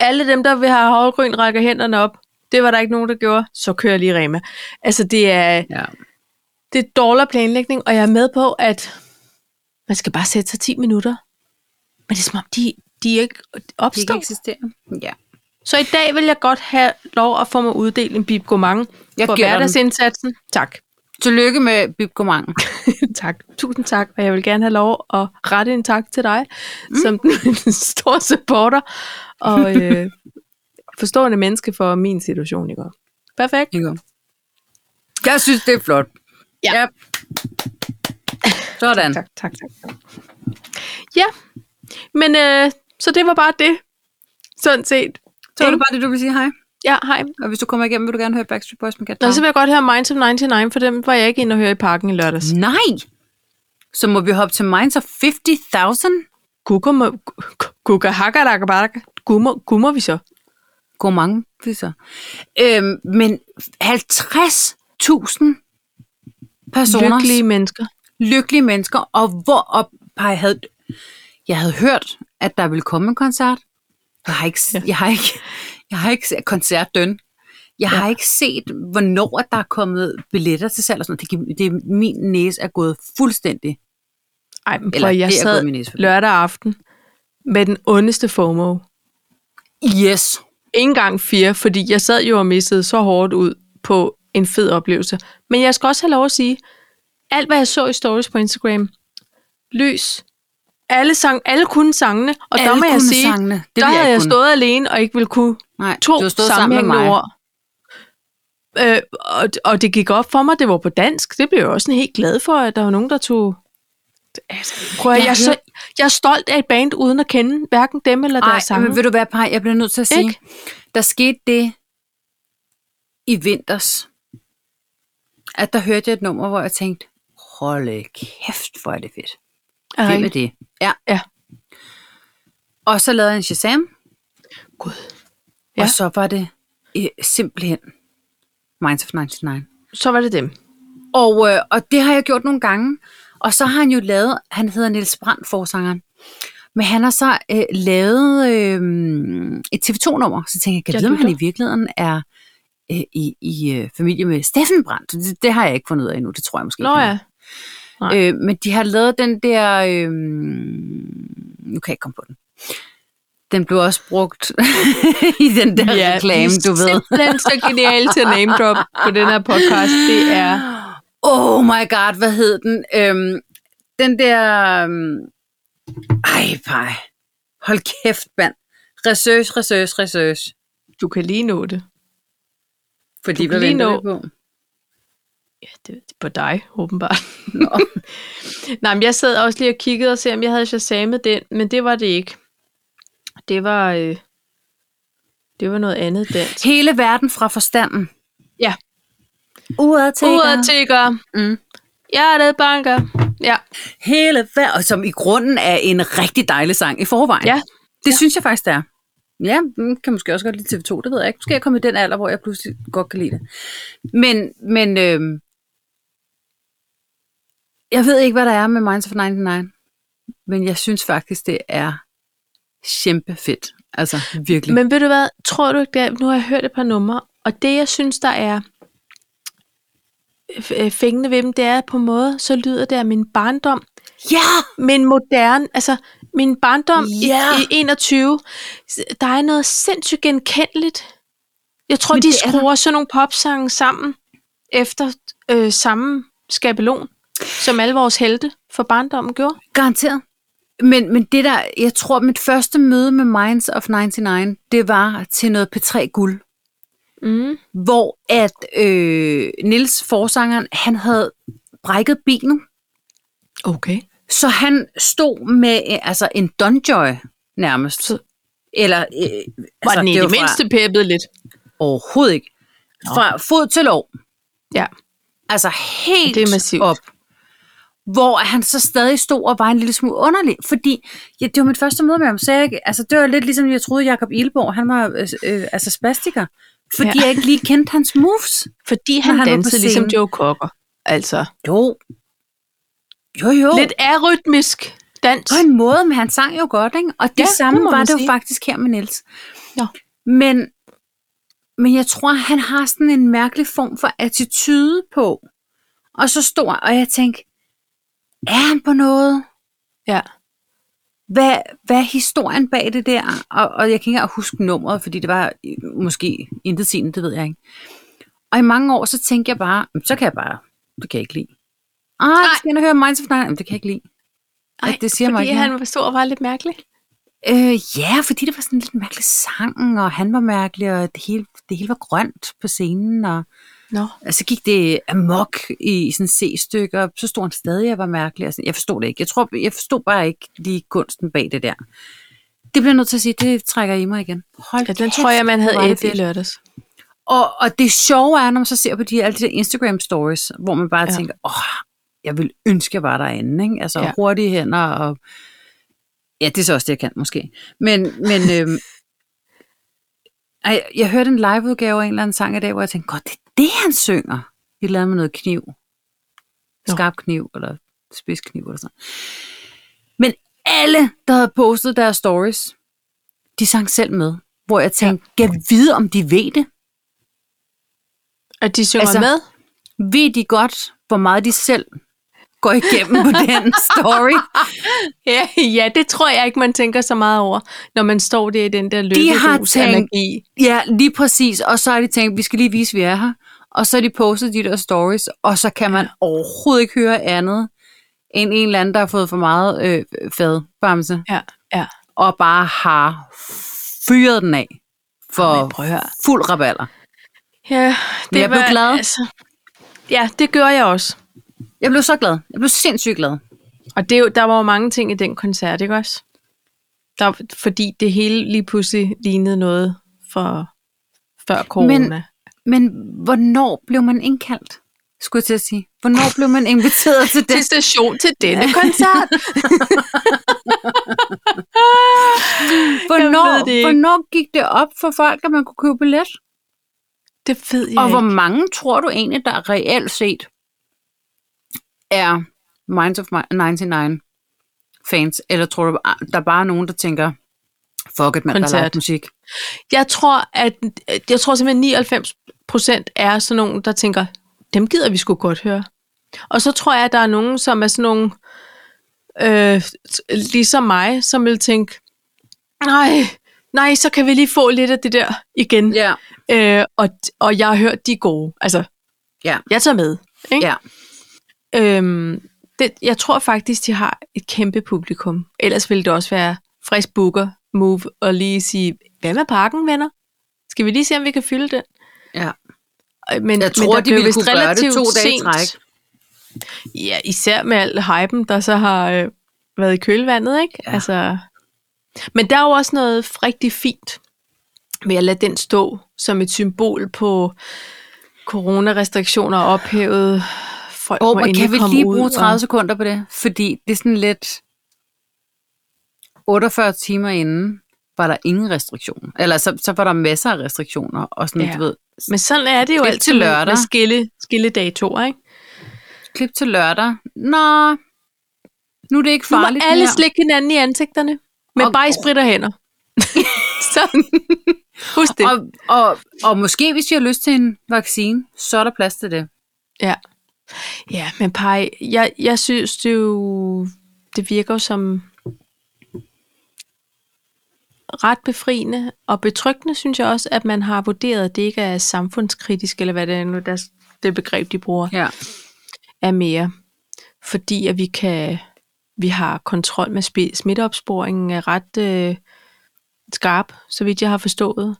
Speaker 2: Alle dem, der vil have havregryn, rækker hænderne op. Det var der ikke nogen, der gjorde. Så kører jeg lige Rema. Altså, det er,
Speaker 1: Ja.
Speaker 2: det er dårlig planlægning, og jeg er med på, at man skal bare sætte sig 10 minutter. Men det er som om, de, de er ikke
Speaker 1: Det
Speaker 2: opstår.
Speaker 1: kan eksistere. Ja.
Speaker 2: Så i dag vil jeg godt have lov at få mig uddelt en bibgomang
Speaker 1: Jeg
Speaker 2: for
Speaker 1: giver dig den.
Speaker 2: hverdagsindsatsen. Tak.
Speaker 1: Tillykke med bibgomangen.
Speaker 2: tak. Tusind tak. Og jeg vil gerne have lov at rette en tak til dig, mm. som den store supporter og øh, forstående menneske for min situation i går. Perfekt.
Speaker 1: Ikke? Jeg synes, det er flot.
Speaker 2: Ja.
Speaker 1: Sådan.
Speaker 2: Tak, tak, tak. tak. Mm. Ja, men øh, så det var bare det. Sådan set.
Speaker 1: Så er det bare det, du vil sige hej.
Speaker 2: Ja, hej.
Speaker 1: Og hvis du kommer igennem, vil du gerne høre Backstreet Boys med Cat
Speaker 2: Nå,
Speaker 1: Power?
Speaker 2: så vil jeg godt høre Minds of 99, for dem var jeg ikke inde og høre i parken i lørdags.
Speaker 1: Nej! Så må vi hoppe til Minds of 50.000.
Speaker 2: Gugger, gugger, hakker, dakker, bakker. Gummer, gummer vi så?
Speaker 1: God mange viser. Øhm, men 50.000 personer.
Speaker 2: Lykkelige mennesker.
Speaker 1: lykkelige mennesker, og hvor op jeg havde, jeg havde hørt, at der ville komme en koncert. Jeg har ikke,
Speaker 2: Ja.
Speaker 1: jeg har ikke, jeg har ikke set koncertdøn. Jeg har ikke set, hvornår at der er kommet billetter til salg og sådan noget. Det, kan- det, min næse er gået fuldstændig.
Speaker 2: Ej, men
Speaker 1: Eller
Speaker 2: prøv, jeg
Speaker 1: det er gået min
Speaker 2: sad
Speaker 1: næse forbi.
Speaker 2: lørdag aften med den ondeste FOMO.
Speaker 1: Yes.
Speaker 2: Ikke engang fire, fordi jeg sad jo og missede så hårdt ud på en fed oplevelse. Men jeg skal også have lov at sige, alt hvad jeg så i stories på Instagram, lys, alle, sang, alle kunne sangene, og
Speaker 1: Alle
Speaker 2: der må jeg
Speaker 1: kunne
Speaker 2: sige,
Speaker 1: sangene. Det ville
Speaker 2: der
Speaker 1: jeg
Speaker 2: havde
Speaker 1: ikke kunne.
Speaker 2: jeg stået alene og ikke ville kunne
Speaker 1: Nej,
Speaker 2: to
Speaker 1: du har stået sammen med
Speaker 2: sammenhængende
Speaker 1: mig.
Speaker 2: ord. Øh, og, og det gik op for mig, det var på dansk. Det blev jeg også sådan helt glad for, at der var nogen, der tog... Altså, prøv at,
Speaker 1: Jeg
Speaker 2: jeg, jeg, er så, jeg er stolt af et band, uden at kende hverken dem eller
Speaker 1: Ej,
Speaker 2: deres sange.
Speaker 1: men vil du være par? Jeg bliver nødt til at sige,
Speaker 2: Ikke?
Speaker 1: der skete det i vinters, at der hørte jeg et nummer, hvor jeg tænkte, hold kæft, hvor er det fedt.
Speaker 2: Er
Speaker 1: Hvem er
Speaker 2: rigtigt?
Speaker 1: det? Ja.
Speaker 2: Ja.
Speaker 1: Og så lavede jeg en Shazam,
Speaker 2: Gud.
Speaker 1: ja.
Speaker 2: Ja.
Speaker 1: og så var det øh, simpelthen Minds of 99.
Speaker 2: Så var det dem.
Speaker 1: Og, øh, og det har jeg gjort nogle gange. Og så har han jo lavet, han hedder Niels Brandt, forsangeren. Men han har så øh, lavet øh, et TV2-nummer, så tænker jeg, kan jeg
Speaker 2: Jeg
Speaker 1: vide, om han i
Speaker 2: lytter.
Speaker 1: virkeligheden er øh, i, i øh, familie med Steffen Brandt? Det, det har jeg ikke fundet ud af endnu, det tror jeg måske
Speaker 2: Nå
Speaker 1: ikke. han er.
Speaker 2: ja. Nej.
Speaker 1: Øh, men de har lavet den der... Øh, nu kan jeg ikke komme på den. Den blev også brugt i den der ja, reklame, du
Speaker 2: Det
Speaker 1: ved.
Speaker 2: er simpelthen så genialt til at name drop på den her podcast. Det er...
Speaker 1: Oh my god, hvad hed den? Øhm, den der... Øhm, ej, pej. Hold kæft, mand. Research, research, research.
Speaker 2: Du kan lige nå det.
Speaker 1: Fordi
Speaker 2: Du
Speaker 1: hvad
Speaker 2: kan lige
Speaker 1: venter
Speaker 2: nå.
Speaker 1: vi på?
Speaker 2: Ja, det det er på dig, åbenbart. Nej, men jeg sad også lige og kiggede og se, om jeg havde shazamet den, men det var det ikke. Det var, øh, det var noget andet dansk.
Speaker 1: Hele verden fra forstanden.
Speaker 2: Ja.
Speaker 1: Uret til.
Speaker 2: Uret tigger.
Speaker 1: Mm.
Speaker 2: Hjertet banker. Ja,
Speaker 1: Hele verden, som i grunden er en rigtig dejlig sang i forvejen.
Speaker 2: ja.
Speaker 1: Det ja. synes jeg faktisk, det er. Ja, mm, kan måske også godt lide TV2, det ved jeg ikke. Måske er jeg kommet i den alder, hvor jeg pludselig godt kan lide det. Men, men øh, jeg ved ikke, hvad der er med Minds of 99, men jeg synes faktisk, det er kæmpe fedt. Altså, virkelig. Men,
Speaker 2: Men ved du hvad, tror du ikke det er, nu har jeg hørt et par numre, og det jeg synes, der er f- øh, fængende ved dem, det er på en måde, så lyder det af min barndom,
Speaker 1: ja!
Speaker 2: men moderne, altså min barndom
Speaker 1: Ja.
Speaker 2: i, i 21, s- der er noget sindssygt genkendeligt. Jeg tror,
Speaker 1: Men
Speaker 2: de
Speaker 1: det er der.
Speaker 2: skruer sådan nogle popsange sammen. efter øh, samme skabelon, som alle vores helte for barndommen gjorde.
Speaker 1: Garanteret. Men, men det der, jeg tror, mit første møde med Minds of 99, det var til noget P3 Guld,
Speaker 2: Mm.
Speaker 1: hvor at øh, Nils forsangeren, han havde brækket benet,
Speaker 2: Okay.
Speaker 1: så han stod med øh, altså en donjoy nærmest. Eller, øh,
Speaker 2: Var altså, den i
Speaker 1: var
Speaker 2: det,
Speaker 1: fra-
Speaker 2: mindste peppet lidt?
Speaker 1: Overhovedet ikke. Fra fod til lov.
Speaker 2: Ja.
Speaker 1: Altså helt
Speaker 2: Det er massivt.
Speaker 1: op. Hvor han så stadig stod og var en lille smule underlig, fordi ja, det var mit første møde med ham, så jeg, altså, det var lidt ligesom, jeg troede, Jakob Ilborg, han var øh, øh, altså spastiker, fordi
Speaker 2: Ja.
Speaker 1: ja. jeg ikke lige kendte hans moves.
Speaker 2: Fordi
Speaker 1: han
Speaker 2: han, han
Speaker 1: var på
Speaker 2: dansede ligesom
Speaker 1: scenen.
Speaker 2: Joe Cocker. Altså,
Speaker 1: Jo. Jo, jo.
Speaker 2: oh. lidt arytmisk dans.
Speaker 1: På en måde, men han sang jo godt, ikke? Og det
Speaker 2: Ja,
Speaker 1: ja,
Speaker 2: det
Speaker 1: samme
Speaker 2: må
Speaker 1: det var
Speaker 2: man
Speaker 1: det jo
Speaker 2: sige.
Speaker 1: faktisk her med Niels.
Speaker 2: Nå.
Speaker 1: Men, men jeg tror, han har sådan en mærkelig form for attitude på. Og så stor, og jeg tænkte, er han på noget?
Speaker 2: Ja.
Speaker 1: Hvad, hvad er historien bag det der? Og, og jeg kan ikke engang huske nummeret, fordi det var øh, måske intet sigende, det ved jeg ikke. Og i mange år, så tænkte jeg bare, "Jamen, så kan jeg bare, det kan jeg ikke lide. Ah,
Speaker 2: Nej.
Speaker 1: jeg skal ind og høre Minds of Nine. Jamen, det kan jeg ikke lide. Ej, det siger mig
Speaker 2: fordi
Speaker 1: ikke noget.
Speaker 2: han var stor og var lidt mærkelig.
Speaker 1: Øh, ja, fordi det var sådan lidt en mærkelig sang, og han var mærkelig, og det hele, det hele var grønt på scenen, og,
Speaker 2: Nå.
Speaker 1: og så gik det amok i sådan C-stykker, og så stod han stadig og var mærkelig. Og sådan. Jeg forstod det ikke. Jeg tror, jeg forstod bare ikke lige kunsten bag det der. Det bliver jeg nødt til at sige, det trækker i mig igen. Hold
Speaker 2: Ja, den
Speaker 1: kæft,
Speaker 2: tror jeg, man havde
Speaker 1: hvor er det
Speaker 2: et i
Speaker 1: fedt.
Speaker 2: lørdags.
Speaker 1: Og, og det sjove er, når man så ser på de, alle de der Instagram-stories, hvor man bare
Speaker 2: Ja.
Speaker 1: ja. tænker, åh, jeg vil ønske, jeg var derinde. Ikke? Altså
Speaker 2: Ja.
Speaker 1: ja. hurtige hænder og... Ja, det er så også det, jeg kan måske. Men, men øhm, ej, jeg hørte en liveudgave af en eller anden sang i dag, hvor jeg tænkte, godt, det er det, han synger. Et eller andet med noget kniv. Skarp kniv, eller spidskniv, eller sådan Men alle, der havde postet deres stories, de sang selv med. Hvor jeg tænkte, ja. kan vide, om de ved det?
Speaker 2: At de synger altså,
Speaker 1: Altså-
Speaker 2: med?
Speaker 1: ved de godt, hvor meget de selv går igennem på den story.
Speaker 2: Ja, ja, det tror jeg ikke, man tænker så meget over, når man står der i den der
Speaker 1: De har
Speaker 2: løbehus af
Speaker 1: tænkt-
Speaker 2: magi.
Speaker 1: Ja, lige præcis. Og så har de tænkt, vi skal lige vise, vi er her. Og så har de postet de der stories, og så kan man overhovedet ikke høre andet end en eller anden, der har fået for meget øh, fadbamse,
Speaker 2: Ja, ja.
Speaker 1: og bare har fyret den af
Speaker 2: Ej,
Speaker 1: for
Speaker 2: prøv at høre.
Speaker 1: fuld raballer.
Speaker 2: ja det
Speaker 1: Men jeg blev
Speaker 2: var-
Speaker 1: glad.
Speaker 2: Altså, ja, det gør jeg også.
Speaker 1: Jeg blev så glad. Jeg blev sindssygt glad.
Speaker 2: Og det, er jo- der var jo mange ting i den koncert, ikke også? Der, fordi det hele lige pludselig lignede noget for før corona. Men,
Speaker 1: Men hvornår blev man indkaldt? Skulle jeg til at sige. Hvornår blev man inviteret til den?
Speaker 2: til station til denne koncert.
Speaker 1: Hvornår,
Speaker 2: ved det ikke.
Speaker 1: hvornår gik det op for folk, at man kunne købe billet?
Speaker 2: Det ved jeg
Speaker 1: Og hvor
Speaker 2: ikke.
Speaker 1: mange tror du egentlig, der reelt set er Minds of Mi- 99 fans? Eller tror du, der bare er nogen, der tænker, fuck it, man, der er
Speaker 2: Koncert.
Speaker 1: live musik?
Speaker 2: Jeg tror, at, jeg tror simpelthen, 99 procent er sådan nogen, der tænker, dem gider vi sgu godt høre. Og så tror jeg, at der er nogen, som er sådan nogle, øh, ligesom mig, som vil tænke, nej, nej, så kan vi lige få lidt af det der igen.
Speaker 1: Ja.
Speaker 2: Øh, og, og jeg har hørt, de er gode. Altså,
Speaker 1: Ja.
Speaker 2: jeg tager med. Ikke?
Speaker 1: Ja.
Speaker 2: Øhm, det, jeg tror faktisk, de har et kæmpe publikum. Ellers ville det også være frisk booker, move og lige sige, hvad med parken, venner? Skal vi lige se, om vi kan fylde den?
Speaker 1: ja.
Speaker 2: Øh, Men,
Speaker 1: Jeg tror,
Speaker 2: der
Speaker 1: de
Speaker 2: blev
Speaker 1: ville
Speaker 2: vist
Speaker 1: kunne gøre det
Speaker 2: relativt
Speaker 1: to dage i
Speaker 2: sent-
Speaker 1: træk.
Speaker 2: Ja, især med al hypen, der så har øh, været i kølvandet, ikke? Ja.
Speaker 1: Ja.
Speaker 2: Altså, men der er jo også noget rigtig fint med at lade den stå som et symbol på coronarestriktioner og ophævet folk
Speaker 1: Og
Speaker 2: må
Speaker 1: man
Speaker 2: endelig
Speaker 1: kan vi
Speaker 2: komme
Speaker 1: lige
Speaker 2: ud
Speaker 1: bruge
Speaker 2: og-
Speaker 1: 30 sekunder på det? Fordi det er sådan lidt... 48 timer inden var der ingen restriktioner. Eller så, så var der masser af restriktioner. Og sådan,
Speaker 2: Ja.
Speaker 1: ja. du ved,
Speaker 2: Men sådan er det jo
Speaker 1: Klip
Speaker 2: altid
Speaker 1: til
Speaker 2: med-
Speaker 1: lørdag.
Speaker 2: med skille, skilledatoer, ikke?
Speaker 1: klip til lørdag. Nå, nu er det ikke
Speaker 2: Nu må
Speaker 1: farligt.
Speaker 2: alle
Speaker 1: mere.
Speaker 2: slikke hinanden i ansigterne, men
Speaker 1: Og-
Speaker 2: bare i sprit og hænder. sådan. Husk det.
Speaker 1: og, og, og måske hvis I har lyst til en vaccine, så er der plads til det.
Speaker 2: Ja. Ja, men Paj, jeg, jeg synes det jo, det virker jo som ret befriende og betryggende, synes jeg også, at man har vurderet, at det ikke er samfundskritisk, eller hvad det er nu, der det begreb, de bruger,
Speaker 1: Ja.
Speaker 2: er mere. Fordi at vi kan, vi har kontrol med spi- smitteopsporingen er ret øh, skarp, så vidt jeg har forstået.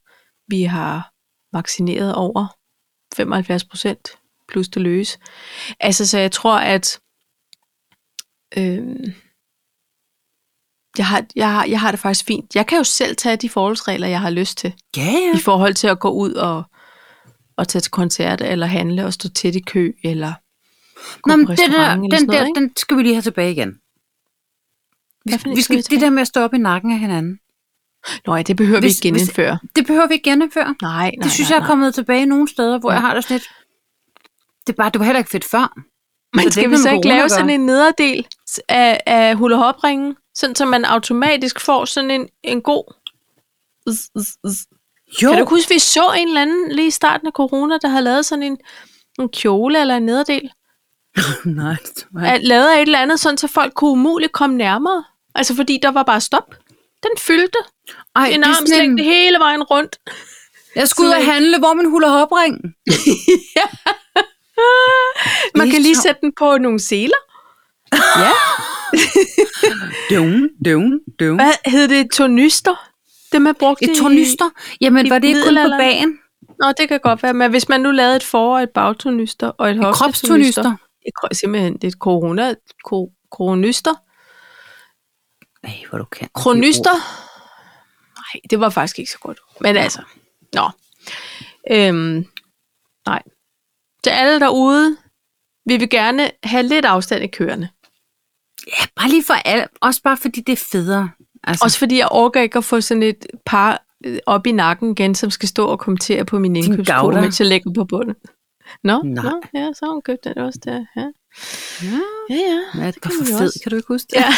Speaker 2: Vi har vaccineret over 75 procent plus det løse. Altså, så jeg tror, at øh, jeg, har, jeg, har, jeg har det faktisk fint. Jeg kan jo selv tage de forholdsregler, jeg har lyst til
Speaker 1: Ja, ja.
Speaker 2: i forhold til at gå ud og, og tage til koncert, eller handle og stå tæt i kø, eller gå
Speaker 1: Nå,
Speaker 2: Nå,
Speaker 1: men
Speaker 2: på
Speaker 1: det der,
Speaker 2: restaurant, eller
Speaker 1: den
Speaker 2: sådan
Speaker 1: der,
Speaker 2: noget, ikke?
Speaker 1: den skal vi lige have tilbage igen.
Speaker 2: Hvad for en
Speaker 1: Vi
Speaker 2: skal vi
Speaker 1: skal, det der med at stå op i nakken af hinanden,
Speaker 2: Nå ja, det behøver
Speaker 1: Hvis-
Speaker 2: vi ikke genindføre.
Speaker 1: det behøver vi ikke genindføre.
Speaker 2: Nej, nej,
Speaker 1: Det synes
Speaker 2: nej,
Speaker 1: jeg er
Speaker 2: nej.
Speaker 1: kommet tilbage nogle steder, hvor
Speaker 2: Ja.
Speaker 1: jeg har det sådan lidt... Det, er bare, det var heller ikke fedt før.
Speaker 2: Men
Speaker 1: det er
Speaker 2: skal
Speaker 1: ikke
Speaker 2: vi
Speaker 1: noget
Speaker 2: så
Speaker 1: med
Speaker 2: ikke
Speaker 1: corona
Speaker 2: lave
Speaker 1: at gøre.
Speaker 2: sådan en nederdel af, af hulahopringen, sådan så man automatisk får sådan en, en god... Zzz, zzz, zzz.
Speaker 1: Jo,
Speaker 2: Kan du ikke huske, vi så en eller anden lige i starten af corona, der havde lavet sådan en, en kjole eller en nederdel?
Speaker 1: nej, det var ikke-
Speaker 2: at lavet af et eller andet, sådan så folk kunne umuligt komme nærmere. Altså fordi der var bare stop. Den fyldte
Speaker 1: Ej,
Speaker 2: en
Speaker 1: det er sådan
Speaker 2: armslængde hele vejen rundt.
Speaker 1: Jeg skulle ud og
Speaker 2: sådan en-
Speaker 1: handle, hvor man huller hopring.
Speaker 2: Man
Speaker 1: Det er
Speaker 2: kan lige
Speaker 1: sjovt.
Speaker 2: sætte den på nogle seler. Ja.
Speaker 1: Døvn, døvn, døvn.
Speaker 2: Hvad hed det? Tornyster? Det man brugte
Speaker 1: Et
Speaker 2: i-
Speaker 1: tornyster? Jamen,
Speaker 2: i
Speaker 1: var det ikke kun på
Speaker 2: middelalderen.
Speaker 1: bagen?
Speaker 2: Nå, det kan godt være. Men hvis man nu lavede et for- og et bagtornyster og et, et
Speaker 1: Kropstornyster?
Speaker 2: Et, kro- simpelthen et corona... Ko, kronister.
Speaker 1: Nej, hvor du kan.
Speaker 2: Kronister? Nej, det var faktisk ikke så godt. Men altså, nå. Øhm, nej. Til alle derude, vi vil gerne have lidt afstand i køerne.
Speaker 1: Ja, bare lige for alle. Også bare fordi det er federe. Altså,
Speaker 2: Også fordi jeg orker ikke at få sådan et par øh, op i nakken igen, som skal stå og kommentere på min indkøbskurve,
Speaker 1: gavler.
Speaker 2: mens jeg lægger på bunden. Nå,
Speaker 1: Nej.
Speaker 2: nå ja, så har hun købt den også der. Ja,
Speaker 1: ja,
Speaker 2: ja. ja.
Speaker 1: hvad er det,
Speaker 2: kan
Speaker 1: for
Speaker 2: man jo
Speaker 1: fed?
Speaker 2: også.
Speaker 1: Kan du ikke huske det?
Speaker 2: Ja.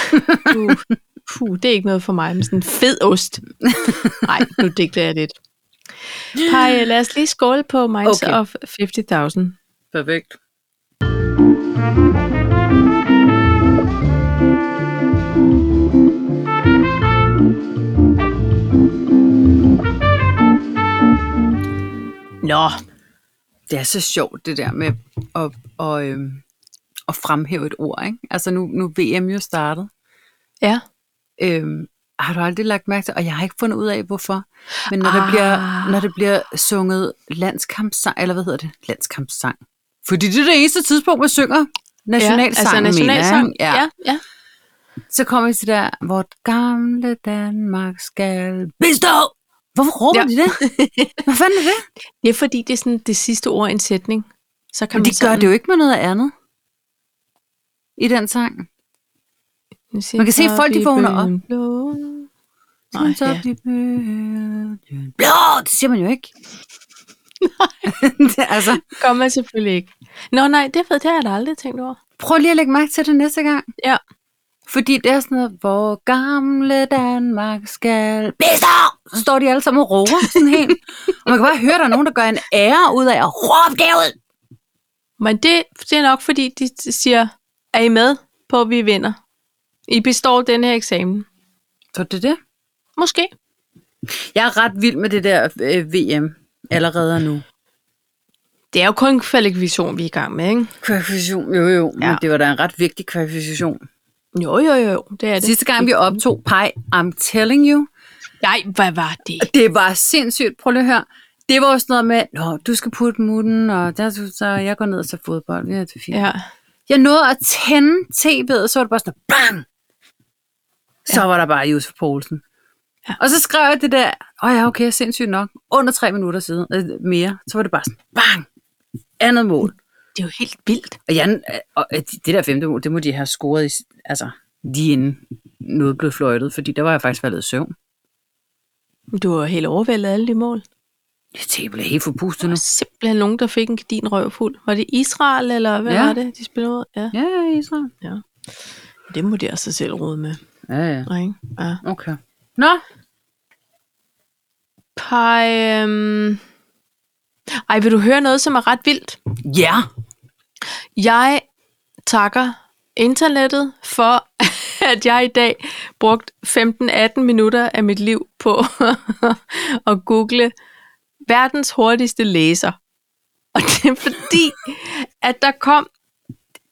Speaker 2: Uh, puh, det er ikke noget for mig med sådan en fed ost. Nej, nu digter jeg lidt. Hej, lad os lige skåle på Minds
Speaker 1: Okay.
Speaker 2: okay. of 50.000.
Speaker 1: Perfekt.
Speaker 2: Nå,
Speaker 1: Det er så sjovt, det der med at, og, øhm, at fremhæve et ord. Ikke? Altså, nu, nu er VM jo startet.
Speaker 2: ja.
Speaker 1: Øhm, har du aldrig lagt mærke til, og jeg har ikke fundet ud af, hvorfor, men når, ah. der,
Speaker 2: Ah.
Speaker 1: bliver, når det bliver sunget landskampsang, eller hvad hedder det? Landskampsang. Fordi det er det eneste tidspunkt, man synger nationalsang,
Speaker 2: ja, altså nationalsang.
Speaker 1: Ja.
Speaker 2: ja. ja.
Speaker 1: Så kommer det til der, vort gamle Danmark skal bestå! Hvorfor råber ja.
Speaker 2: Ja.
Speaker 1: de det? Hvad fanden er det?
Speaker 2: Det er fordi, det er sådan det sidste ord i en sætning. Så kan
Speaker 1: Men
Speaker 2: man
Speaker 1: de gør det jo ikke med noget andet. I den sang.
Speaker 2: det.
Speaker 1: Man kan se, folk, de vågner op.
Speaker 2: Nej,
Speaker 1: Nej, så
Speaker 2: ja.
Speaker 1: ja. Blå, det siger man jo ikke. Nej. altså,
Speaker 2: Det gør man selvfølgelig ikke. Nå nej, det, ved- det har jeg da aldrig tænkt over.
Speaker 1: prøv lige at lægge mærke til det næste gang.
Speaker 2: Ja.
Speaker 1: Fordi det er sådan noget, hvor gamle Danmark skal bestå! Så står de alle sammen og råber sådan helt. og man kan bare høre, at der er nogen, der gør en ære ud af at råbe derud.
Speaker 2: Men det, det er nok, fordi de siger, er I med på, at vi vinder? I består den her eksamen.
Speaker 1: Så det er det.
Speaker 2: Måske.
Speaker 1: Jeg er ret vild med det der øh, VM allerede nu.
Speaker 2: Det er jo kun kvalifikation, vi er i gang med, ikke?
Speaker 1: Kvalifikation, jo jo, ja.
Speaker 2: Ja.
Speaker 1: men det var da en ret vigtig kvalifikation.
Speaker 2: Jo, jo, jo, det er det.
Speaker 1: Sidste gang vi optog pej, I'm telling you,
Speaker 2: Nej, hvad var det?
Speaker 1: Det var sindssygt. Prøv lige at høre. Det var jo sådan noget med, Nå, du skal putte mutten, og der, skal- så jeg går ned og ser fodbold. Ja, det er fint. Ja.
Speaker 2: Ja.
Speaker 1: Jeg nåede at tænde tv'et, og så var det bare sådan, bang! Så var der bare Josef Poulsen. Ja.
Speaker 2: Ja.
Speaker 1: Og så skrev jeg det der, åh ja, okay, sindssygt nok. Under tre minutter siden, øh, mere, så var det bare sådan, bang! Andet mål.
Speaker 2: Det er jo helt vildt.
Speaker 1: Og, jeg, og øh, det der femte mål, det må de have scoret, i, s- altså lige inden noget blev fløjtet, fordi der var jeg faktisk faldet i søvn.
Speaker 2: Du har helt overvældet alle de mål.
Speaker 1: Jeg blev helt forpustet
Speaker 2: Der
Speaker 1: nu.
Speaker 2: var simpelthen nogen, der fik en din røvfuld. Var det Israel, eller hvad
Speaker 1: Ja.
Speaker 2: ja. var det, de spillede ud? Ja.
Speaker 1: Ja, Israel.
Speaker 2: Det må de altså selv rode med.
Speaker 1: Ja, ja.
Speaker 2: Ikke? Ja.
Speaker 1: Okay. Nå,
Speaker 2: Pej, øhm... Ej, vil du høre noget, som er ret vildt?
Speaker 1: ja.
Speaker 2: Jeg takker internettet for, at jeg i dag brugte 15-18 minutter af mit liv på at google verdens hurtigste læser. Og det er fordi, at der kom...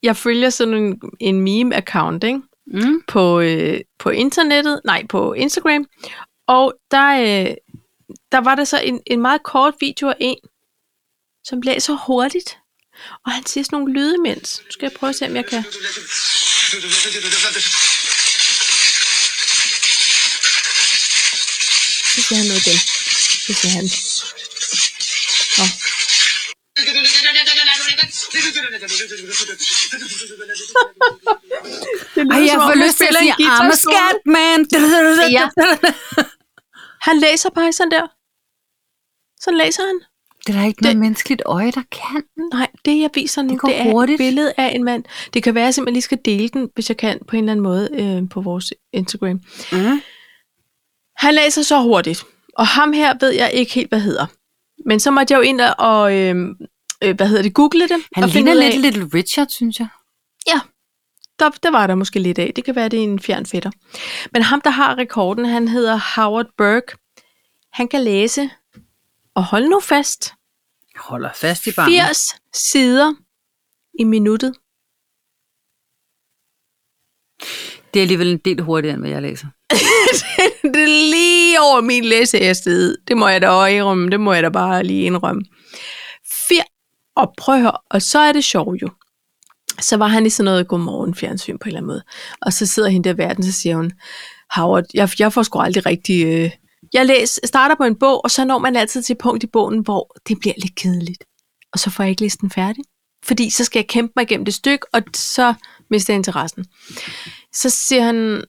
Speaker 2: Jeg følger sådan en, en meme-account, ikke?
Speaker 1: Mm.
Speaker 2: på, øh, på internettet, nej, på Instagram, og der, øh, der var der så en, en meget kort video af en, som blev så hurtigt, og han siger sådan nogle lyde imens. Nu skal jeg prøve at se, om jeg kan... Så siger han noget igen. Så siger han... Det lyder,
Speaker 1: Ej, jeg
Speaker 2: som om
Speaker 1: får
Speaker 2: han
Speaker 1: lyst til at
Speaker 2: spiller en
Speaker 1: sige,
Speaker 2: guitar
Speaker 1: I'm a
Speaker 2: solo.
Speaker 1: scat man.
Speaker 2: Ja. Han læser bare sådan der. Sådan læser han.
Speaker 1: Det er der ikke noget menneskeligt øje, der kan.
Speaker 2: Nej, det jeg viser nu,
Speaker 1: Det
Speaker 2: det,
Speaker 1: går
Speaker 2: det er
Speaker 1: hurtigt.
Speaker 2: et billede af en mand. Det kan være, at jeg simpelthen lige skal dele den, hvis jeg kan, på en eller anden måde øh, på vores Instagram.
Speaker 1: Mm.
Speaker 2: Han læser så hurtigt, og ham her ved jeg ikke helt, hvad hedder. Men så måtte jeg jo ind og, øh, øh, hvad hedder det, google det.
Speaker 1: Han
Speaker 2: og finde
Speaker 1: ligner
Speaker 2: ud af-
Speaker 1: lidt Little Richard, synes jeg.
Speaker 2: der, der var der måske lidt af. Det kan være, det er en fjern fætter. Men ham, der har rekorden, han hedder Howard Burke. Han kan læse, og hold nu fast,
Speaker 1: Jeg holder fast i barmen.
Speaker 2: 80 sider i minuttet.
Speaker 1: Det er alligevel en del hurtigere, end hvad jeg læser.
Speaker 2: det er lige over min læsehastighed. Det må jeg da også indrømme. Det må jeg da bare lige indrømme. Fir. Og prøv at høre. Og så er det sjovt jo. Så var han i sådan noget godmorgen fjernsyn på en eller anden måde. Og så sidder hende der i verden, så siger hun, Howard, jeg, jeg får sgu aldrig rigtig... Øh... Jeg læs, starter på en bog, og så når man altid til et punkt i bogen, hvor det bliver lidt kedeligt. Og så får jeg ikke læst den færdig. Fordi så skal jeg kæmpe mig igennem det stykke, og så mister jeg interessen. Så siger han,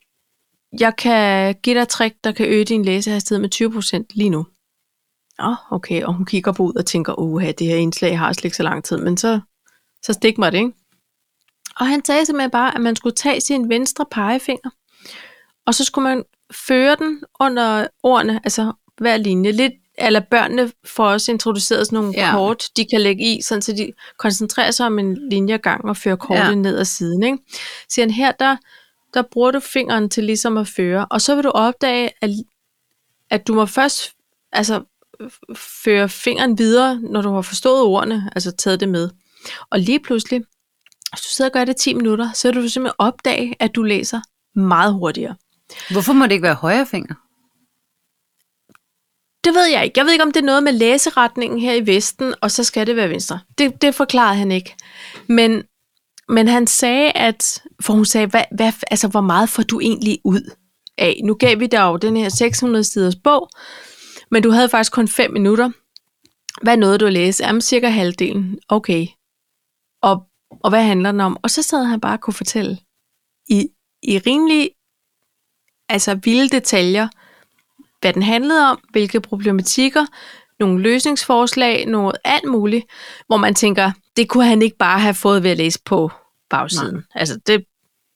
Speaker 2: jeg kan give dig et trick, der kan øge din læsehastighed med 20% lige nu. Nå, okay, og hun kigger på ud og tænker, uha, det her indslag har slet ikke så lang tid, men så, så stik mig det, ikke? Og han sagde simpelthen bare, at man skulle tage sin venstre pegefinger, og så skulle man føre den under ordene, altså hver linje, lidt eller børnene får også introduceret sådan nogle
Speaker 1: Ja.
Speaker 2: ja. kort, de kan lægge i, sådan så de koncentrerer sig om en linje ad gangen og fører kortet
Speaker 1: Ja.
Speaker 2: ja. ned ad siden. Ikke? Så han, her der, der bruger du fingeren til ligesom at føre, og så vil du opdage, at, at du må først altså, f- føre fingeren videre, når du har forstået ordene, altså taget det med. Og lige pludselig, hvis du sidder og gør det 10 minutter, så vil du simpelthen opdage, at du læser meget hurtigere.
Speaker 1: Hvorfor må det ikke være højre finger?
Speaker 2: Det ved jeg ikke. Jeg ved ikke, om det er noget med læseretningen her i Vesten, og så skal det være venstre. Det, det forklarede han ikke. Men, men han sagde, at... For hun sagde, hvad, hvad, altså, hvor meget får du egentlig ud af? Nu gav vi dig jo den her 600-siders bog, men du havde faktisk kun 5 minutter. Hvad nåede du at læse? Jamen, cirka halvdelen. Okay. Og, og hvad handler den om? Og så sad han bare og kunne fortælle i, i rimelig altså vilde detaljer, hvad den handlede om, hvilke problematikker, nogle løsningsforslag, noget alt muligt, hvor man tænker, det kunne han ikke bare have fået ved at læse på bagsiden. Nej. Altså, det,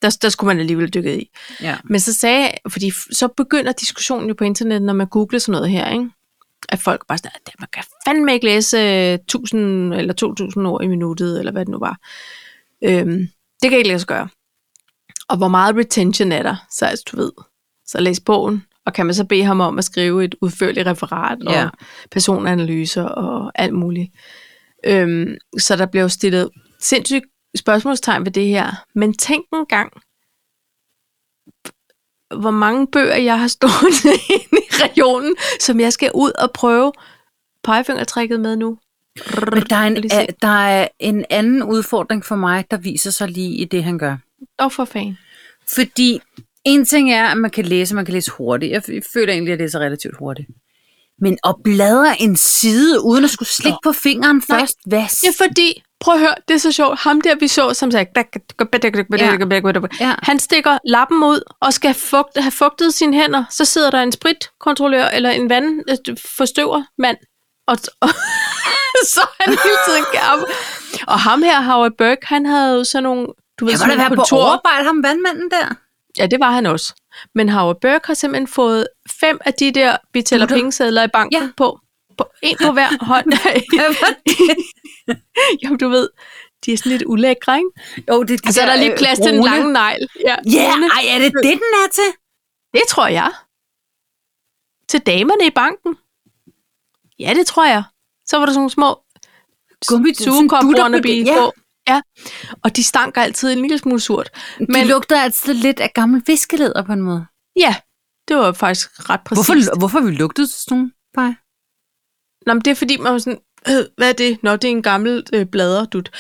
Speaker 2: der, der skulle man alligevel dykke i.
Speaker 1: Ja.
Speaker 2: Men så sagde fordi f- så begynder diskussionen jo på internettet, når man googler sådan noget her, ikke? at folk bare sådan, at man kan fandme ikke læse øh, 1000 eller 2000 ord i minuttet, eller hvad det nu var. Øhm, det kan ikke lade sig gøre. Og hvor meget retention er der, så altså, du ved. Så læs bogen, og kan man så bede ham om at skrive et udførligt referat,
Speaker 1: Ja.
Speaker 2: og personanalyser og alt muligt. Øhm, så der bliver jo stillet sindssygt spørgsmålstegn ved det her. Men tænk en gang, hvor mange bøger jeg har stående inde i regionen, som jeg skal ud og prøve pegefingertrækket med nu.
Speaker 1: Men der er, en,
Speaker 2: Lige se.
Speaker 1: a- der er en anden udfordring for mig, der viser sig lige i det, han gør.
Speaker 2: Åh, for fanden.
Speaker 1: Fordi en ting er, at man kan læse, og man kan læse hurtigt. Jeg f- føler egentlig, at jeg læser relativt hurtigt. Men at bladre en side, uden at skulle slikke på fingeren
Speaker 2: Nej.
Speaker 1: først, hvad
Speaker 2: Det er fordi, prøv at høre, det er så sjovt. Ham der, vi så, som sagt,
Speaker 1: Ja.
Speaker 2: han stikker lappen ud og skal fugte, have fugtet sine hænder. Så sidder der en spritkontrollør eller en vandforstøver mand. Og, og så er han hele tiden gav. Og ham her, Howard Burke, han havde jo sådan nogle... Du ved,
Speaker 1: Han må
Speaker 2: sådan
Speaker 1: da være
Speaker 2: nogle
Speaker 1: på
Speaker 2: kontor-
Speaker 1: overarbejde, ham vandmanden der.
Speaker 2: Ja, det var han også. Men Howard Burke har simpelthen fået fem af de der betaler
Speaker 1: Dutter.
Speaker 2: pengesedler i banken
Speaker 1: Ja.
Speaker 2: ja. på. på. En på hver hånd.
Speaker 1: Hvad var det?
Speaker 2: Jamen, du ved, de er sådan lidt ulækre, ikke?
Speaker 1: Jo, det, det
Speaker 2: Og så er der lige plads til den lange negl. Ja,
Speaker 1: Altså, øh, Ja,
Speaker 2: brune.
Speaker 1: ej, er det det, den er til?
Speaker 2: det tror jeg. Til damerne i banken. Ja, det tror jeg. Så var der sådan nogle små
Speaker 1: Gummi-
Speaker 2: sugekombrerne blive
Speaker 1: ja.
Speaker 2: på. Ja, og de stanker altid en lille smule surt.
Speaker 1: Men
Speaker 2: Men-
Speaker 1: de lugter altså lidt af gammel viskeleder på en måde.
Speaker 2: Ja, det var faktisk ret præcist.
Speaker 1: Hvorfor, hvorfor har vi lugtet sådan nogle pej?
Speaker 2: Nå, men det er fordi, man var sådan, øh, hvad er det? Nå, det er en gammel øh, bladerdut.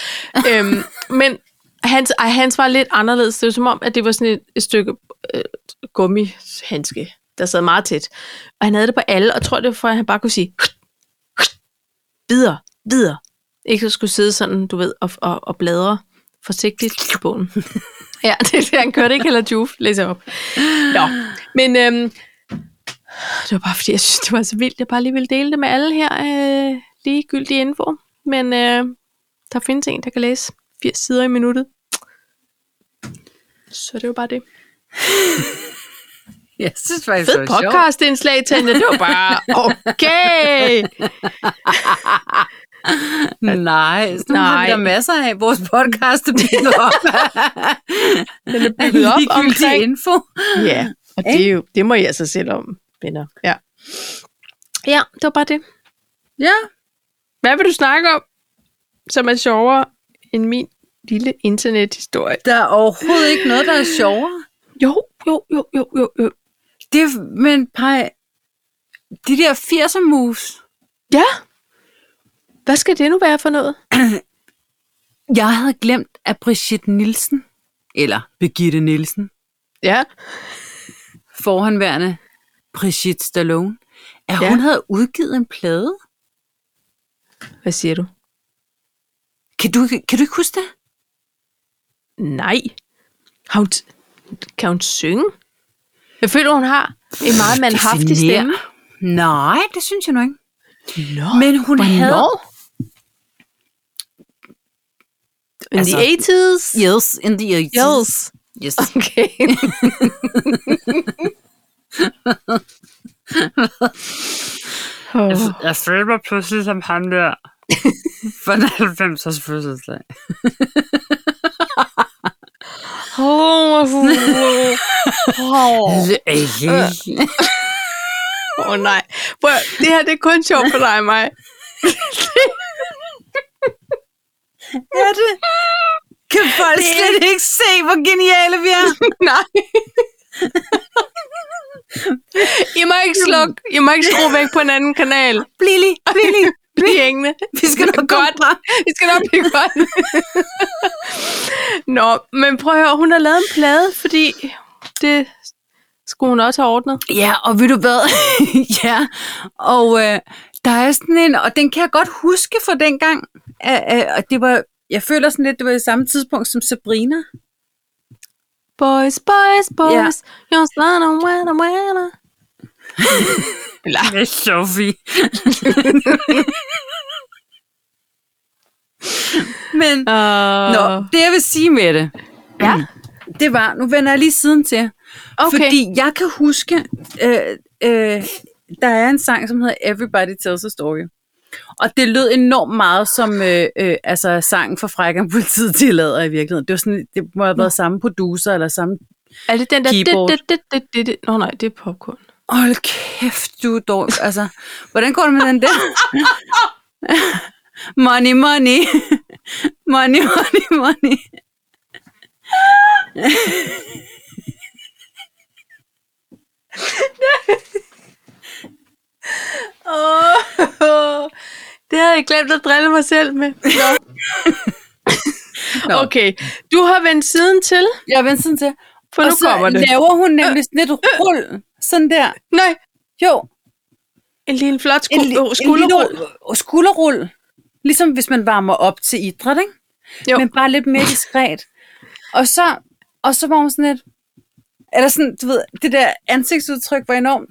Speaker 2: øhm, men hans, ej, hans var lidt anderledes. Det var som om, at det var sådan et, et stykke øh, gummihandske, der sad meget tæt. Og han havde det på alle, og jeg tror det var for, at han bare kunne sige, videre, videre. Ikke at skulle sidde sådan, du ved, og, og, og bladre forsigtigt i bogen. ja, det er det, han kørte ikke, eller Juf, læser op. Nå, men øhm, det var bare fordi, jeg synes, det var så vildt. Jeg bare lige ville dele det med alle her øh, ligegyldige info. Men øh, der findes en, der kan læse 80 sider i minuttet. Så det var bare det.
Speaker 1: Jeg synes faktisk,
Speaker 2: Fed podcastindslag, Tanja. Det var bare, okay.
Speaker 1: sjovt. Nej, sådan Nej. har vi
Speaker 2: Nej.
Speaker 1: der masser af. Vores podcast er bygget op
Speaker 2: Den er
Speaker 1: af
Speaker 2: bygget op
Speaker 1: ligegyldig
Speaker 2: omkring.
Speaker 1: info.
Speaker 2: Ja, og det, er jo, det må jeg så selv om, venner. Ja. ja, det var bare det.
Speaker 1: Ja.
Speaker 2: Hvad vil du snakke om, som er sjovere end min lille internethistorie?
Speaker 1: Der er overhovedet ikke noget, der er sjovere.
Speaker 2: Jo, jo, jo, jo, jo, jo.
Speaker 1: Det, er- men pej, de der 80'er mus,
Speaker 2: Ja. Hvad skal det nu være for noget?
Speaker 1: jeg havde glemt, at Brigitte Nielsen, eller Birgitte Nielsen,
Speaker 2: Ja.
Speaker 1: forhåndværende Brigitte Stallone, at
Speaker 2: Ja.
Speaker 1: ja. hun havde udgivet en plade.
Speaker 2: Hvad siger du?
Speaker 1: Kan du, kan du ikke huske det?
Speaker 2: Nej. Har hun t- kan hun synge? Jeg føler, hun har en meget manhaftig
Speaker 1: Definere.
Speaker 2: stemme.
Speaker 1: Nej, det synes jeg nu ikke.
Speaker 2: Nå,
Speaker 1: Men hun havde...
Speaker 2: In
Speaker 1: Altså-
Speaker 2: the 80's?
Speaker 1: Yes, in the 80s.
Speaker 2: Yes.
Speaker 1: Yes.
Speaker 2: Okay. oh.
Speaker 1: Jeg føler mig pludselig som ham der. For 90'ers fødselsdag.
Speaker 2: Oh, oh, oh. oh, nej. Prøv, at- det her det er kun sjovt for dig og mig.
Speaker 1: Er det? Kan folk det... slet ikke se, hvor geniale vi er?
Speaker 2: Nej. I må ikke slukke. I må ikke skrue væk på en anden kanal.
Speaker 1: Bliv lige, bliv lige.
Speaker 2: Bliv hængende.
Speaker 1: Vi skal nok
Speaker 2: godt.
Speaker 1: godt. Fra.
Speaker 2: Vi skal nok blive godt. Nå, men prøv at høre. Hun har lavet en plade, fordi det skulle hun også have ordnet.
Speaker 1: Ja, og ved du hvad? ja, og øh, der er sådan en, og den kan jeg godt huske fra dengang, øh, øh, og det var, jeg føler sådan lidt, det var i samme tidspunkt som Sabrina.
Speaker 2: Boys, boys, boys. Ja. You're slana, wanna, wanna. Eller,
Speaker 1: Det er Sophie. Men,
Speaker 2: uh,
Speaker 1: nå, det jeg vil sige med det,
Speaker 2: Ja,
Speaker 1: det var, nu vender jeg lige siden til,
Speaker 2: okay.
Speaker 1: Fordi jeg kan huske, øh, øh, der er en sang, som hedder Everybody Tells a Story. Og det lød enormt meget som øh, øh, altså sangen fra Frækken Politiet tillader i virkeligheden. Det, var sådan, det må have været samme producer eller samme...
Speaker 2: er det den der...
Speaker 1: Keyboard.
Speaker 2: Det, det, det, det, det. Nå nej, det er popcorn.
Speaker 1: Hold kæft, du er dårlig. Altså, hvordan går det med den der? money, money. money, money, money.
Speaker 2: Åh, oh, det havde jeg glemt at drille mig selv med. Nå.
Speaker 1: Nå.
Speaker 2: Okay, du har vendt siden til,
Speaker 1: Jeg venter sådan til.
Speaker 2: for
Speaker 1: og
Speaker 2: nu
Speaker 1: så
Speaker 2: kommer det.
Speaker 1: laver hun nemlig sådan et rul. Sådan der.
Speaker 2: Nej,
Speaker 1: Jo,
Speaker 2: en lille flot sku-
Speaker 1: li-
Speaker 2: en, skulderrulle.
Speaker 1: lille ru- skulderrul. Ligesom hvis man varmer op til idræt, ikke?
Speaker 2: Jo.
Speaker 1: Men bare lidt mere diskret. Og så, og så var hun sådan lidt... Eller sådan, du ved, det der ansigtsudtryk var enormt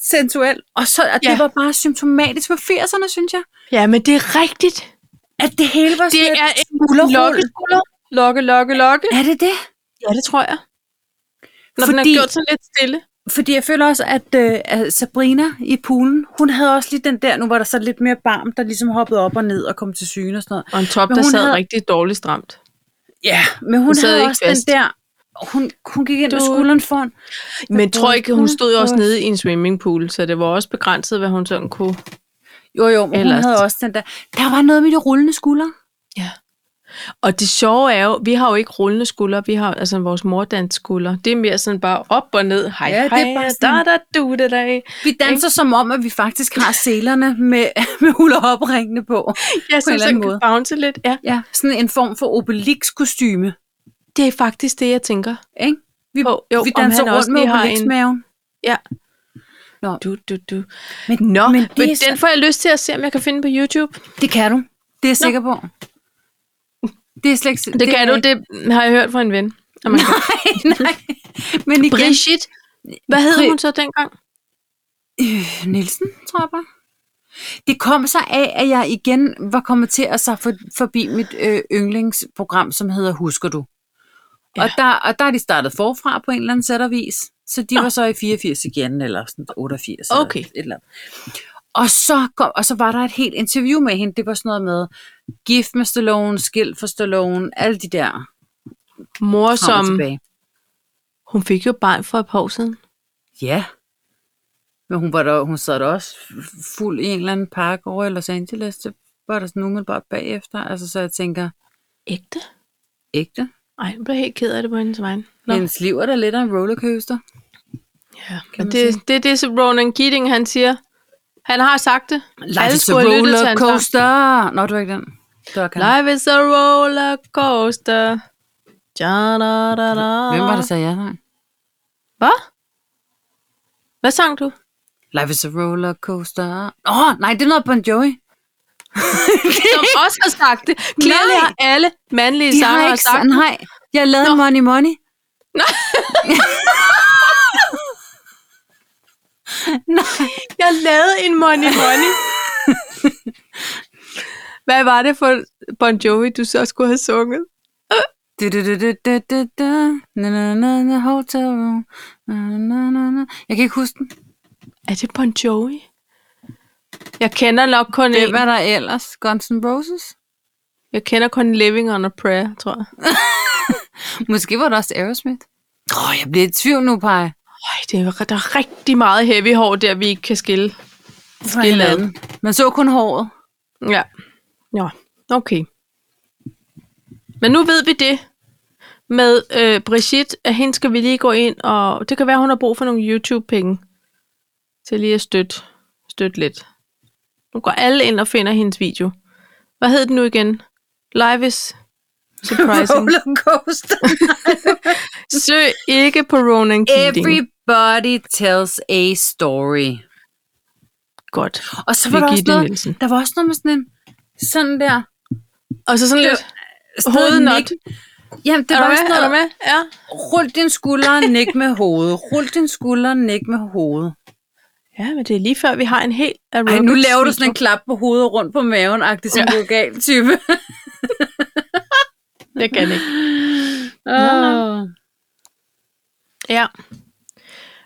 Speaker 1: sensuelt. Og, så, og det
Speaker 2: Ja.
Speaker 1: var bare symptomatisk for 80'erne, synes jeg.
Speaker 2: Ja, men det er rigtigt.
Speaker 1: At det hele var sådan
Speaker 2: Det
Speaker 1: lidt
Speaker 2: er en
Speaker 1: skulderrul.
Speaker 2: lokke, skulder. Lokke, lokke, lokke.
Speaker 1: Er det det?
Speaker 2: Ja, det tror jeg. Når Fordi... den
Speaker 1: Fordi-
Speaker 2: er gjort sådan lidt stille.
Speaker 1: Fordi jeg føler også, at, øh, at Sabrina i poolen, hun havde også lige den der, nu var der så lidt mere barm, der ligesom hoppede op og ned og kom til syne og sådan noget.
Speaker 2: Og en top,
Speaker 1: Men
Speaker 2: der
Speaker 1: hun
Speaker 2: sad
Speaker 1: havde-
Speaker 2: rigtig dårligt stramt.
Speaker 1: Ja, men hun
Speaker 2: sad
Speaker 1: havde
Speaker 2: ikke
Speaker 1: også
Speaker 2: fast.
Speaker 1: den der, hun, hun gik ind med
Speaker 2: Du-
Speaker 1: skulderen foran.
Speaker 2: Men tror ikke, hun stod jo også nede i en swimmingpool, så det var også begrænset, hvad hun sådan kunne.
Speaker 1: Jo, jo, men hun
Speaker 2: Ellers-
Speaker 1: havde også den der... Der var noget med de rullende skuldre.
Speaker 2: Og det sjove er jo, vi har jo ikke rullende skuldre, vi har jo- altså vores mordans skuldre. Det er mere sådan bare op og ned, hej,
Speaker 1: Ja, det er
Speaker 2: hej,
Speaker 1: bare
Speaker 2: da,
Speaker 1: sådan-
Speaker 2: da, du, da, da.
Speaker 1: Vi danser som om, at vi faktisk har selerne med, med hulopringene på.
Speaker 2: Ja, så,
Speaker 1: eller
Speaker 2: så
Speaker 1: anden
Speaker 2: kan
Speaker 1: måde.
Speaker 2: bounce lidt. Ja,
Speaker 1: Ja, sådan en form for obelix-kostyme.
Speaker 2: det er faktisk det, jeg tænker.
Speaker 1: Ikke? Vi,
Speaker 2: På, jo,
Speaker 1: vi
Speaker 2: om
Speaker 1: danser
Speaker 2: han
Speaker 1: rundt
Speaker 2: også
Speaker 1: med
Speaker 2: lige har en-
Speaker 1: obelix-maven.
Speaker 2: Du, du, du.
Speaker 1: Men,
Speaker 2: Nå,
Speaker 1: men
Speaker 2: men,
Speaker 1: det,
Speaker 2: men
Speaker 1: er så-
Speaker 2: den får jeg lyst til at se, om jeg kan finde på YouTube.
Speaker 1: det kan du. Det er jeg sikker på. Det er slet ikke...
Speaker 2: Det, det kan du, det har jeg hørt fra en ven. at man kan.
Speaker 1: Nej, nej. Men igen...
Speaker 2: Brigitte, hvad hed
Speaker 1: Bri-
Speaker 2: hun så dengang?
Speaker 1: Øh, Nielsen, tror jeg bare. Det kom sig af, at jeg igen var kommet til at sig for, forbi mit øh, yndlingsprogram, som hedder Husker du? Ja. Og,
Speaker 2: Ja.
Speaker 1: der, og der er de startet forfra på en eller anden sæt og vis. Så de
Speaker 2: Nå.
Speaker 1: var så i 84 igen, eller sådan 88.
Speaker 2: Okay.
Speaker 1: Eller et eller andet. Og så, kom, og så var der et helt interview med hende. Det var sådan noget med gift med Stallone, skilt for Stallone, alle de der
Speaker 2: Mor,
Speaker 1: frem og
Speaker 2: som
Speaker 1: tilbage.
Speaker 2: hun fik jo barn for et par år siden.
Speaker 1: Ja. Men hun, var der, hun sad der også f- fuld i en eller anden park over i Los Angeles. Det var der sådan umiddelbart bagefter. Altså, så jeg tænker,
Speaker 2: Ægte?
Speaker 1: ægte.
Speaker 2: Ej, jeg blev helt ked af det på hendes vejen. Nå.
Speaker 1: Nå. Hendes liv er da lidt af en rollercoaster.
Speaker 2: Ja,
Speaker 1: kan man
Speaker 2: men det, det er det, som Ronan Keating han siger. Han har sagt det.
Speaker 1: Life is a
Speaker 2: skulle have lyttet til hans sang.
Speaker 1: rollercoaster. Nå, du er ikke den. Det var Karin.
Speaker 2: Life is a rollercoaster. Ja, da, da, da.
Speaker 1: Hvem var det, der sagde ja? Nej.
Speaker 2: Hvad? Hvad sang du?
Speaker 1: Life is a rollercoaster. Åh, oh, nej, det er noget Bon Jovi.
Speaker 2: Som også har sagt det. Clearly
Speaker 1: Nej.
Speaker 2: har alle mandlige
Speaker 1: De har
Speaker 2: sangere
Speaker 1: ikke
Speaker 2: sagt
Speaker 1: sagt, nej. Jeg lavede Money Money.
Speaker 2: Jeg lavede en money money. Hvad var det for Bon Jovi, du så skulle have sunget?
Speaker 1: Du, du, du, du, du, du, du. Na, na, na, na, hotel room. Na, na, na, na. Jeg kan ikke huske den.
Speaker 2: Er det Bon Jovi? Jeg kender nok kun
Speaker 1: Hvem
Speaker 2: en.
Speaker 1: er der ellers? Guns N' Roses?
Speaker 2: Jeg kender kun Living on a Prayer, tror jeg.
Speaker 1: Måske var det også Aerosmith. Åh, oh, jeg bliver i tvivl nu, Paj.
Speaker 2: Øj, det er, der er rigtig meget heavy hår der, vi ikke kan skille.
Speaker 1: Fra hinanden. Man så kun håret.
Speaker 2: Ja. Nå, okay. Men nu ved vi det med øh, Brigitte, at hende skal vi lige gå ind, og det kan være, hun har brug for nogle YouTube-penge til lige at støtte, støtte lidt. Nu går alle ind og finder hendes video. Hvad hed den nu igen? Live is surprising.
Speaker 1: Rollercoaster.
Speaker 2: Søg ikke på Ronan Keating.
Speaker 1: Everybody tells a story.
Speaker 2: Godt.
Speaker 1: Og så var der også
Speaker 2: Birgitte
Speaker 1: noget,
Speaker 2: Nielsen.
Speaker 1: der var også noget med sådan en, sådan der.
Speaker 2: Og så sådan
Speaker 1: Det-
Speaker 2: lidt,
Speaker 1: Stadig
Speaker 2: hovednot.
Speaker 1: nikken. Jamen, det
Speaker 2: er
Speaker 1: var
Speaker 2: du
Speaker 1: sådan
Speaker 2: med? Er du
Speaker 1: noget,
Speaker 2: med? Ja.
Speaker 1: rul din skulder, nik med hovedet. Rul din skulder, nik med hovedet.
Speaker 2: Ja, men det er lige før, vi har en helt
Speaker 1: Ej,
Speaker 2: aerobics
Speaker 1: nu laver du
Speaker 2: video.
Speaker 1: sådan en klap på hovedet rundt på maven, agtig som
Speaker 2: Ja.
Speaker 1: ja. gal type.
Speaker 2: Jeg kan ikke.
Speaker 1: Åh.
Speaker 2: Ja.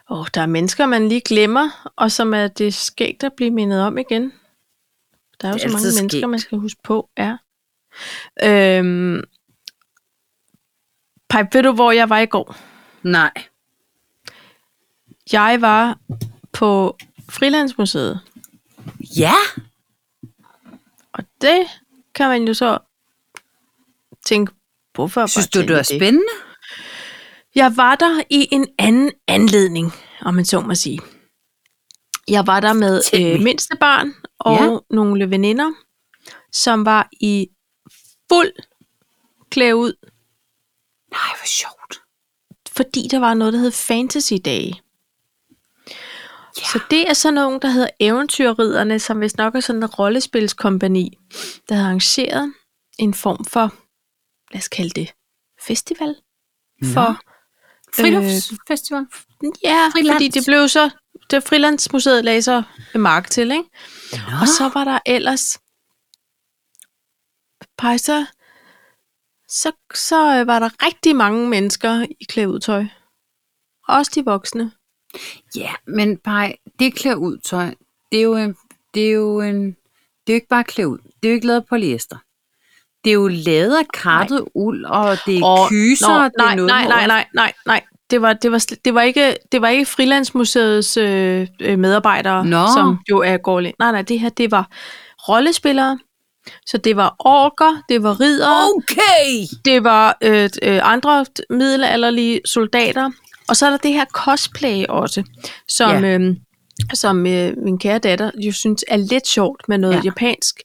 Speaker 2: Og der er mennesker, man lige glemmer, og som er det skægt at blive mindet om igen. Der er jo
Speaker 1: Det
Speaker 2: så
Speaker 1: er
Speaker 2: mange
Speaker 1: altid
Speaker 2: mennesker,
Speaker 1: skægt.
Speaker 2: man skal huske på. Ja. Øhm, Pej, ved du, hvor jeg var i går?
Speaker 1: Nej.
Speaker 2: Jeg var på Frilandsmuseet,
Speaker 1: Ja.
Speaker 2: og det kan man jo så tænke, hvorfor bare
Speaker 1: Synes du,
Speaker 2: tænke
Speaker 1: det var
Speaker 2: det?
Speaker 1: spændende?
Speaker 2: Jeg var der i en anden anledning, om man så må sige. Jeg var der med
Speaker 1: Fortæl
Speaker 2: øh,
Speaker 1: mig.
Speaker 2: mindste barn og ja. nogle veninder, som var i fuld klæde ud,
Speaker 1: Nej, hvor sjovt.
Speaker 2: fordi der var noget, der hed Fantasy Day.
Speaker 1: Ja.
Speaker 2: Så det er sådan nogen, der hedder Eventyrriderne, som vist nok er sådan en rollespilskompani, der har arrangeret en form for, lad os kalde det, festival for
Speaker 1: Friluftsfestival.
Speaker 2: Ja,
Speaker 1: Frilands.
Speaker 2: fordi det blev så, det frilandsmuseet lagde så mark til, ikke?
Speaker 1: Nå.
Speaker 2: Og så var der ellers, Pej, så, så, så øh, var der rigtig mange mennesker i klæudtøj. Også de voksne.
Speaker 1: Ja, men Paj, det klæder ud tøj. Det er jo en, det er jo en, det er jo ikke bare klæder ud. Det er jo ikke lavet af polyester. Det er jo lavet af kartet uld, og det er
Speaker 2: Og-
Speaker 1: kyser,
Speaker 2: Nå,
Speaker 1: og det
Speaker 2: nej,
Speaker 1: er noget
Speaker 2: nej, nej, nej, nej, nej. det var, det var, sl- det var ikke, det var ikke Frilandsmuseets øh, øh, medarbejdere,
Speaker 1: Nå.
Speaker 2: som jo er går lidt. Nej, nej, det her, det var rollespillere. Så det var orker, det var ridere, oh.
Speaker 1: Okay!
Speaker 2: det var øh, øh, andre middelalderlige soldater. Og så er der det her cosplay også, som, ja. øh, som øh, min kære datter jo synes er lidt sjovt med noget
Speaker 1: Ja.
Speaker 2: ja. japansk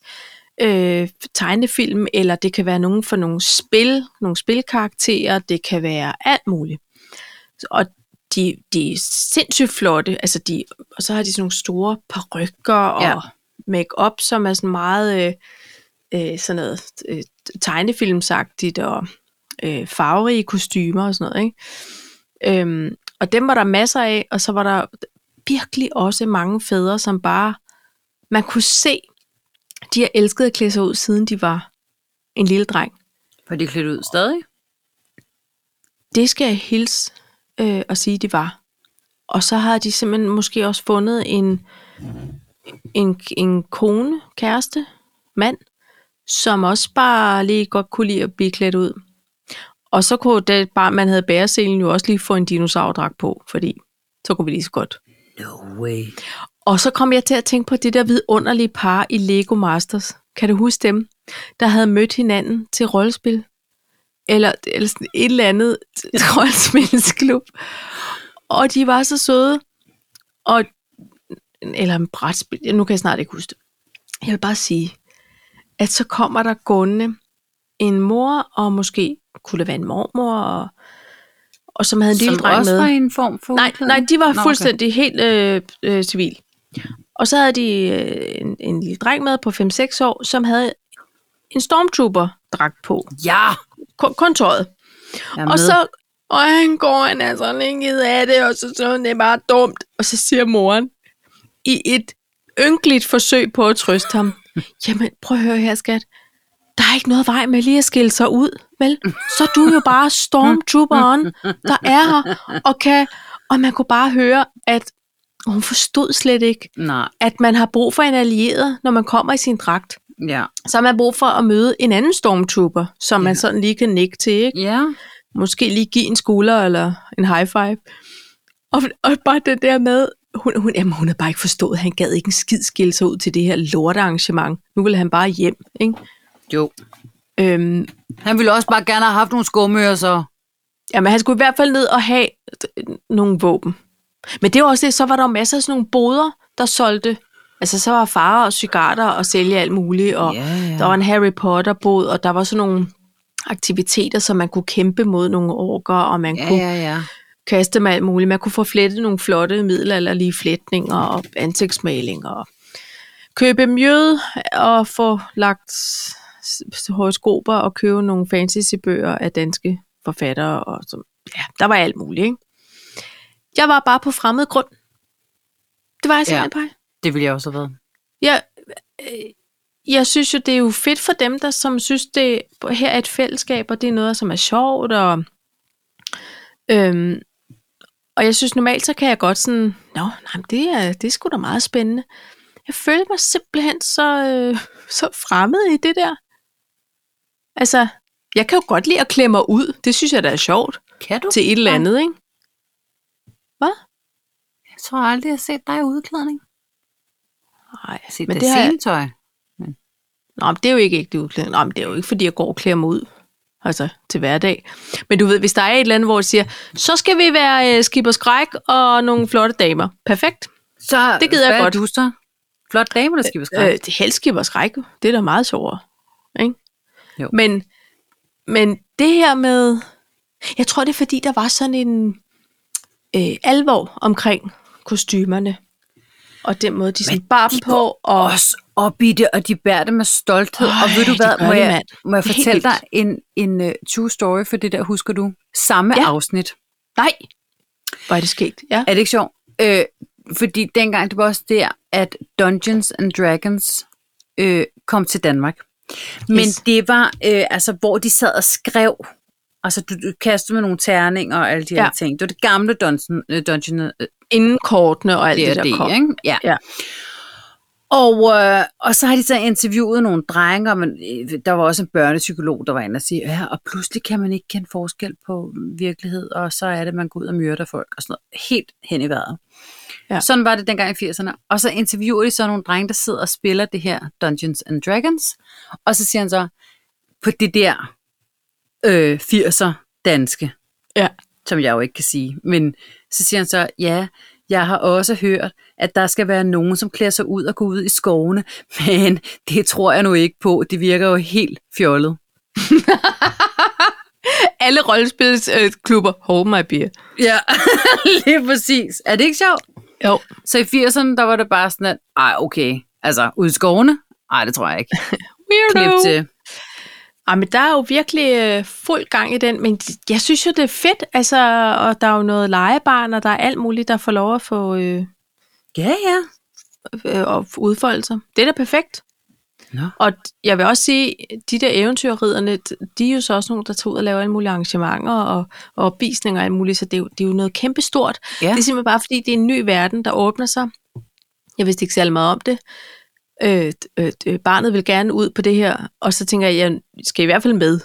Speaker 2: øh, tegnefilm, eller det kan være nogen for nogle spil, nogle spilkarakterer, det kan være alt muligt. Og de, de er sindssygt flotte, altså de, og så har de sådan nogle store parrykker og
Speaker 1: Ja.
Speaker 2: ja. make-up, som er sådan meget øh, øh, sådan noget øh, tegnefilmsagtigt og øh, farverige kostymer og sådan noget. Ikke? Øhm, og dem var der masser af, og så var der virkelig også mange fædre, som bare, man kunne se, de har elsket at klæde sig ud, siden de var en lille dreng.
Speaker 1: Var de klædt ud stadig?
Speaker 2: Det skal jeg hilse øh, og sige, de var. Og så har de simpelthen måske også fundet en, en, en kone, kæreste, mand, som også bare lige godt kunne lide at blive klædt ud. Og så kunne det bare, man havde bæreselen jo også lige få en dinosaurdragt på, fordi så kunne vi lige så godt.
Speaker 1: No way.
Speaker 2: Og så kom jeg til at tænke på det der vidunderlige par i Lego Masters. Kan du huske dem, der havde mødt hinanden til rollespil? Eller, eller sådan et eller andet rollespilsklub. Og de var så søde. Og, eller en brætspil. Nu kan jeg snart ikke huske det. Jeg vil bare sige, at så kommer der gående en mor, og måske kunne det være en mormor, og, og som havde en lille
Speaker 1: Som
Speaker 2: dreng
Speaker 1: også
Speaker 2: med.
Speaker 1: var i en form for
Speaker 2: Nej,
Speaker 1: udklædning?
Speaker 2: nej, de var
Speaker 1: Nå,
Speaker 2: Nå, fuldstændig okay. helt øh, øh, civil. Og så havde de øh, en, en lille dreng med på 5-6 år, som havde en stormtrooper-dragt på.
Speaker 1: Okay. Ja!
Speaker 2: Kun, kun tøjet.
Speaker 1: Jeg er
Speaker 2: Og
Speaker 1: med.
Speaker 2: så, og han går, han er så længe af det, og så så han, det er bare dumt. Og så siger moren, i et ynkeligt forsøg på at trøste ham, jamen prøv at høre her, skat. Der er ikke noget vej med lige at skille sig ud, vel? Så er du jo bare stormtrooperen, der er her, og kan... Og man kunne bare høre, at hun forstod slet ikke,
Speaker 1: Nej,
Speaker 2: at man har brug for en allieret, når man kommer i sin dragt.
Speaker 1: ja.
Speaker 2: Så har man brug for at møde en anden stormtrooper, som man sådan lige kan nikke til, ikke?
Speaker 1: Ja,
Speaker 2: måske lige give en skulder eller en high five. Og, og bare det der med, hun, hun, jamen, hun havde bare ikke forstået, han gad ikke en skid skille sig ud til det her lortearrangement. Nu ville han bare hjem, ikke?
Speaker 1: jo.
Speaker 2: Øhm,
Speaker 1: Han ville også bare gerne have haft nogle skumører, så...
Speaker 2: jamen, han skulle i hvert fald ned og have øh, nogle våben. Men det var også det, så var der jo masser af sådan nogle boder, der solgte. Altså, så var farer og cigaretter og sælge alt muligt, og
Speaker 1: Ja, ja.
Speaker 2: der var en Harry Potter-bod, og der var sådan nogle aktiviteter, som man kunne kæmpe mod nogle orker, og man
Speaker 1: Ja,
Speaker 2: kunne
Speaker 1: ja, ja.
Speaker 2: kaste med alt muligt. Man kunne få flettet nogle flotte middelalderlige flætninger og ansigtsmalinger. Og købe mjød og få lagt s- s- horoskoper og købe nogle fantasybøger af danske forfattere. Og så, ja, der var alt muligt, ikke? Jeg var bare på fremmed grund. Det var jeg
Speaker 1: Ja.
Speaker 2: simpelthen ja. bare.
Speaker 1: Det ville jeg også have været.
Speaker 2: Jeg, øh, jeg synes jo, det er jo fedt for dem, der som synes, det her er et fællesskab, og det er noget, som er sjovt. Og, øhm, og jeg synes normalt, så kan jeg godt sådan, nå, nej, men det er, det er sgu da meget spændende. Jeg følte mig simpelthen så, øh, så fremmed i det der. Altså, jeg kan jo godt lide at klemme mig ud. Det synes jeg, der er sjovt.
Speaker 1: Kan du?
Speaker 2: Til et eller andet, ikke?
Speaker 1: Jeg tror aldrig, jeg har set dig i udklædning.
Speaker 2: Nej,
Speaker 1: Jeg har set
Speaker 2: men
Speaker 1: dig
Speaker 2: det
Speaker 1: i
Speaker 2: har jeg,
Speaker 1: scenetøj.
Speaker 2: Nå, men det er jo ikke ægte udklædning. Nå, men det er jo ikke, fordi jeg går og klæder mig ud altså, til hverdag. Men du ved, hvis der er et eller andet, hvor jeg siger, så skal vi være øh, skib og skræk og nogle flotte damer. Perfekt.
Speaker 1: Så
Speaker 2: Det gider jeg
Speaker 1: hvad
Speaker 2: godt.
Speaker 1: Er du så? Flot dame, der skal
Speaker 2: Øh,
Speaker 1: beskrive.
Speaker 2: det er helst skib og skræk. Det er da meget sjovere. Ikke?
Speaker 1: Jo.
Speaker 2: Men, men det her med... Jeg tror, det er fordi, der var sådan en øh, alvor omkring kostymerne. Og den måde, de sådan
Speaker 1: øh,
Speaker 2: bar dem på. Og,
Speaker 1: os op i det, og de bærer det med stolthed.
Speaker 2: Øj,
Speaker 1: og ved du
Speaker 2: de
Speaker 1: hvad,
Speaker 2: gør
Speaker 1: må,
Speaker 2: det,
Speaker 1: jeg,
Speaker 2: mand.
Speaker 1: må jeg
Speaker 2: Det er helt
Speaker 1: fortælle dig en, en uh, true story for det der, husker du? Samme
Speaker 2: Ja.
Speaker 1: ja. afsnit.
Speaker 2: nej, hvor er det sket. Ja.
Speaker 1: Er det ikke sjovt? Øh, fordi dengang, det var også der, at Dungeons and Dragons øh, kom til Danmark. Men
Speaker 2: Yes.
Speaker 1: det var, øh, altså, hvor de sad og skrev. Altså, du, du kastede med nogle terninger og alle de her
Speaker 2: Ja.
Speaker 1: ting. Det var det gamle Dungeon, øh, Dungeon, øh,
Speaker 2: Inden kortene og alt det,
Speaker 1: det
Speaker 2: det
Speaker 1: er
Speaker 2: der
Speaker 1: det,
Speaker 2: kom.
Speaker 1: ikke? Ja.
Speaker 2: Ja.
Speaker 1: Og, øh, og så har de så interviewet nogle drenge, og man, øh, der var også en børnepsykolog, der var inde og sige, ja, og pludselig kan man ikke kende forskel på virkelighed, og så er det, man går ud og myrder folk, og sådan noget. Helt hen i vejret.
Speaker 2: Ja.
Speaker 1: Ja. Sådan var det dengang i 80'erne. Og så interviewer de så nogle drenge, der sidder og spiller det her Dungeons and Dragons, og så siger han så, på det der øh, 80'er danske,
Speaker 2: Ja.
Speaker 1: som jeg jo ikke kan sige. Men så siger han så, ja, jeg har også hørt, at der skal være nogen, som klæder sig ud og går ud i skovene, men det tror jeg nu ikke på. Det virker jo helt fjollet.
Speaker 2: Alle rollespilsklubber hold my beer.
Speaker 1: Ja, lige præcis. Er det ikke sjovt?
Speaker 2: Jo.
Speaker 1: Så i 80'erne, der var det bare sådan, at, ej, okay, altså, ud i skovene? Ej, det tror jeg ikke. Klip
Speaker 2: Weirdo.
Speaker 1: til.
Speaker 2: Ej, men der er jo virkelig øh, fuld gang i den, men de- jeg synes jo, det er fedt, altså, og der er jo noget legebarn, og der er alt muligt, der får lov at få øh,
Speaker 1: Ja, ja.
Speaker 2: øh, og udfolde sig. Det er da perfekt.
Speaker 1: Nå.
Speaker 2: Og jeg vil også sige, de der eventyrriderne, de er jo så også nogle, der tager ud og laver alle mulige arrangementer og, og opvisninger og alt muligt, så det er, jo, det er jo noget kæmpestort.
Speaker 1: Ja.
Speaker 2: Det er simpelthen bare, fordi det er en ny verden, der åbner sig. Jeg vidste ikke særlig meget om det. Øh, øh, øh, barnet vil gerne ud på det her, og så tænker jeg, jeg skal i hvert fald med.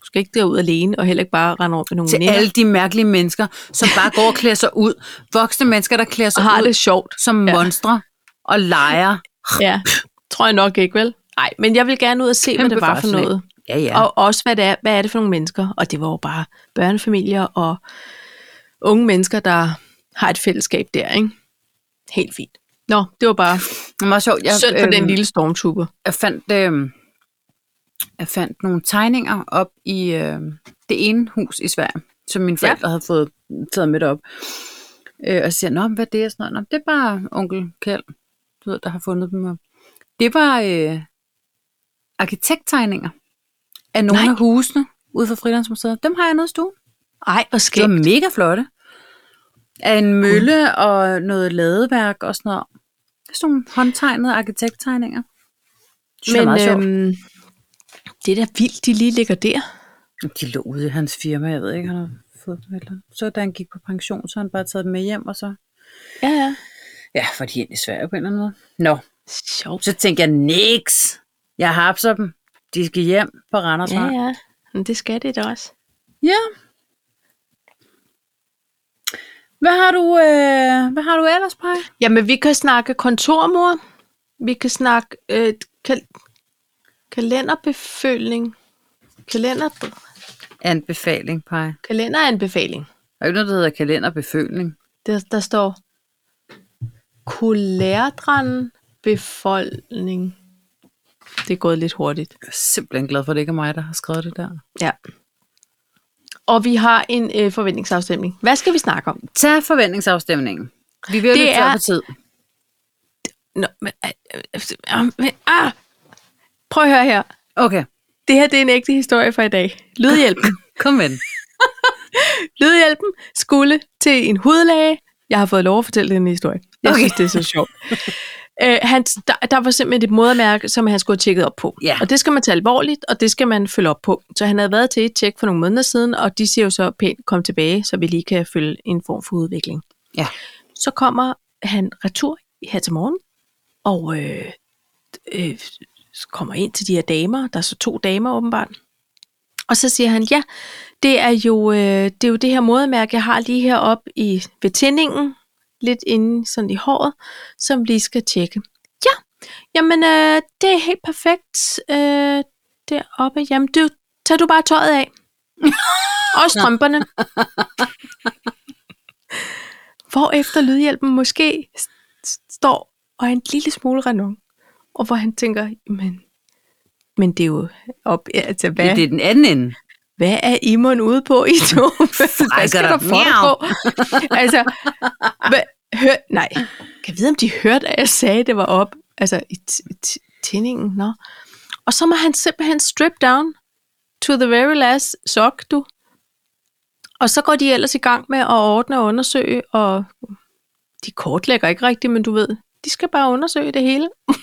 Speaker 2: Du skal ikke derud alene, og heller ikke bare rende rundt med nogle
Speaker 1: Til
Speaker 2: veninder.
Speaker 1: alle de mærkelige mennesker, som bare går og klæder sig ud. Voksne mennesker, der klæder sig
Speaker 2: og har
Speaker 1: ud
Speaker 2: det sjovt.
Speaker 1: som
Speaker 2: Ja.
Speaker 1: ja. monstre og leger.
Speaker 2: Ja, tror jeg nok ikke, vel? Nej, men jeg vil gerne ud og se, hvad
Speaker 1: Kæmpe
Speaker 2: det var for
Speaker 1: forslag.
Speaker 2: noget.
Speaker 1: Ja, ja.
Speaker 2: Ja. Og også, hvad det, er, hvad er det for nogle mennesker? Og det var jo bare børnefamilier og unge mennesker, der har et fællesskab der, ikke? Helt fint. Nå, det var bare
Speaker 1: Det var meget sjovt. Jeg, øhm,
Speaker 2: jeg, synd for den lille stormtrooper.
Speaker 1: jeg fandt, øh, jeg fandt nogle tegninger op i øh, det ene hus i Sverige, som mine forældre ja. havde fået taget med op. Øh, og så siger, jeg, Nå, men hvad er det er sådan noget. Nå, men det er bare onkel Kjeld, du ved, der har fundet dem. Og Det var øh, arkitekttegninger af nogle
Speaker 2: Nej.
Speaker 1: Nej. af husene ude for Frilandsmuseet. Dem har jeg nede i stuen.
Speaker 2: Ej, og
Speaker 1: Det var
Speaker 2: skægt.
Speaker 1: mega flotte. Af en mølle og noget ladeværk og sådan noget. Sådan nogle håndtegnede arkitekttegninger. Men,
Speaker 2: Men
Speaker 1: meget sjovt.
Speaker 2: øhm, det er da vildt, de lige ligger der.
Speaker 1: De lå ude i hans firma, jeg ved ikke, han har fået dem eller Så da han gik på pension, så har han bare taget dem med hjem, og så...
Speaker 2: Ja, ja.
Speaker 1: Ja, for de er egentlig svære på en eller anden måde. Nå,
Speaker 2: Sjovt.
Speaker 1: så tænkte jeg, niks! Jeg hapser dem. De skal hjem på Randers
Speaker 2: Ja,
Speaker 1: Vej.
Speaker 2: ja. Men det skal det da også.
Speaker 1: ja. Hvad har du, øh, hvad har du ellers, Paj?
Speaker 2: Jamen, vi kan snakke kontormor. Vi kan snakke øh, kal- kalenderbeføling. Kalender,
Speaker 1: Anbefaling, Paj.
Speaker 2: kalenderanbefaling.
Speaker 1: Der er jo ikke noget, der hedder kalenderbeføling.
Speaker 2: Der, der står kolærdran befolkning. Det er gået lidt hurtigt.
Speaker 1: Jeg er simpelthen glad for, at det ikke er mig, der har skrevet det der.
Speaker 2: Ja. Og vi har en øh, forventningsafstemning. Hvad skal vi snakke om?
Speaker 1: Tag forventningsafstemningen. Vi vil jo
Speaker 2: Det
Speaker 1: løbe
Speaker 2: er-
Speaker 1: tør for tid.
Speaker 2: Nå, men, øh, øh, øh, men, ah. Prøv at høre her.
Speaker 1: Okay,
Speaker 2: Det her det er en ægte historie for i dag. Lydhjælpen.
Speaker 1: kom med den.
Speaker 2: Lydhjælpen skulle til en hudlæge. Jeg har fået lov at fortælle den historie. Jeg okay.
Speaker 1: Okay.
Speaker 2: synes, det er så sjovt. Øh, han, der, der var simpelthen et modermærke, som han skulle have tjekket op på.
Speaker 1: Ja.
Speaker 2: Og det skal man tage alvorligt, og det skal man følge op på. Så han havde været til et tjek for nogle måneder siden, og de siger jo så pænt, kom tilbage, så vi lige kan følge en form for udvikling.
Speaker 1: Ja.
Speaker 2: Så kommer han retur her til morgen, og øh, øh, kommer ind til de her damer. Der er så to damer åbenbart. Og så siger han, ja, det er jo, øh, det, er jo det her modermærke, jeg har lige heroppe i, ved tændingen, lidt inde sådan i håret, som lige skal tjekke. Ja, jamen øh, det er helt perfekt øh, deroppe. Jamen du, tag du bare tøjet af. Og strømperne. Hvor efter lydhjælpen måske s- s- står og er en lille smule renom. Og hvor han tænker, men, men det er jo op, altså, hvad,
Speaker 1: Ja. Det er den anden ende.
Speaker 2: hvad er Imon ude på i to? hvad skal
Speaker 1: Frækker
Speaker 2: der
Speaker 1: dig.
Speaker 2: foregå? altså, hvad, hør, nej. Kan jeg vide, om de hørte, at jeg sagde, at det var op? Altså, i t- t- tændingen, nå. Og så må han simpelthen strip down to the very last sock, du. Og så går de ellers i gang med at ordne og undersøge, og de kortlægger ikke rigtigt, men du ved, de skal bare undersøge det hele.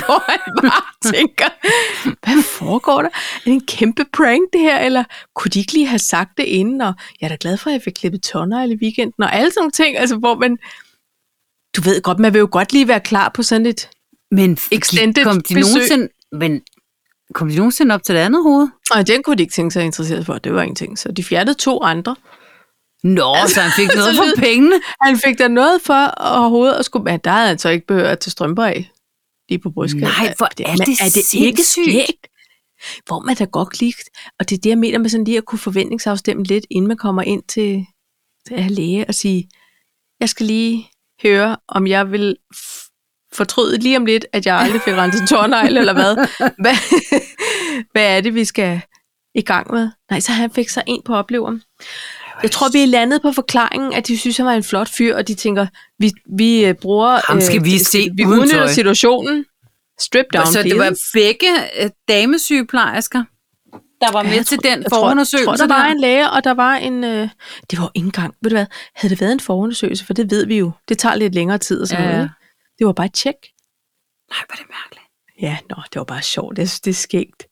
Speaker 2: Hvor han bare tænker, hvad foregår der? Er det en kæmpe prank, det her? Eller kunne de ikke lige have sagt det inden? Og jeg er da glad for, at jeg fik klippet tonner i weekenden, og alle sådan nogle ting, altså, hvor man... Du ved godt, man vil jo godt lige være klar på sådan et
Speaker 1: Men
Speaker 2: Extended
Speaker 1: gik- kom de
Speaker 2: besøg.
Speaker 1: nogensinde, men kom de nogensinde op til det andet hoved?
Speaker 2: Og den kunne de ikke tænke sig interesseret for, det var ingenting. Så de fjernede to andre.
Speaker 1: Nå, altså, så han fik noget
Speaker 2: så
Speaker 1: for
Speaker 2: lyder-
Speaker 1: pengene.
Speaker 2: Han fik da noget for overhovedet at skulle... Men der havde han så ikke behøvet at tage strømper af lige på brystet.
Speaker 1: Nej, hvor er
Speaker 2: Men
Speaker 1: det
Speaker 2: er det ikke
Speaker 1: sindssygt?
Speaker 2: skægt? Hvor man da godt lige... Og det er det, jeg mener med sådan lige at kunne forventningsafstemme lidt, inden man kommer ind til, til at læge og sige, jeg skal lige høre, om jeg vil f- fortryde lige om lidt, at jeg aldrig fik renset tårnegl, eller hvad? hvad? Hvad er det, vi skal i gang med? Nej, så han fik så en på opleveren. Jeg tror, vi er landet på forklaringen, at de synes, han var en flot fyr, og de tænker, vi, vi øh, bruger...
Speaker 1: Ham skal
Speaker 2: øh,
Speaker 1: vi se
Speaker 2: Vi
Speaker 1: uden
Speaker 2: udnytter
Speaker 1: tøj.
Speaker 2: situationen. Strip down,
Speaker 1: Så det
Speaker 2: please.
Speaker 1: var begge øh, damesygeplejersker, der var
Speaker 2: Ja,
Speaker 1: med
Speaker 2: jeg
Speaker 1: til
Speaker 2: tror-
Speaker 1: den
Speaker 2: jeg tror-
Speaker 1: forundersøgelse.
Speaker 2: Jeg tror, der var
Speaker 1: der.
Speaker 2: en læge, og der var en... Øh, det var jo ikke engang, ved du hvad, havde det været en forundersøgelse, for det ved vi jo, det tager lidt længere tid og sådan
Speaker 1: Ja.
Speaker 2: noget. ikke? Det var bare et tjek.
Speaker 1: Nej, var det mærkeligt.
Speaker 2: Ja, nå, det var bare sjovt. Jeg synes, det er skægt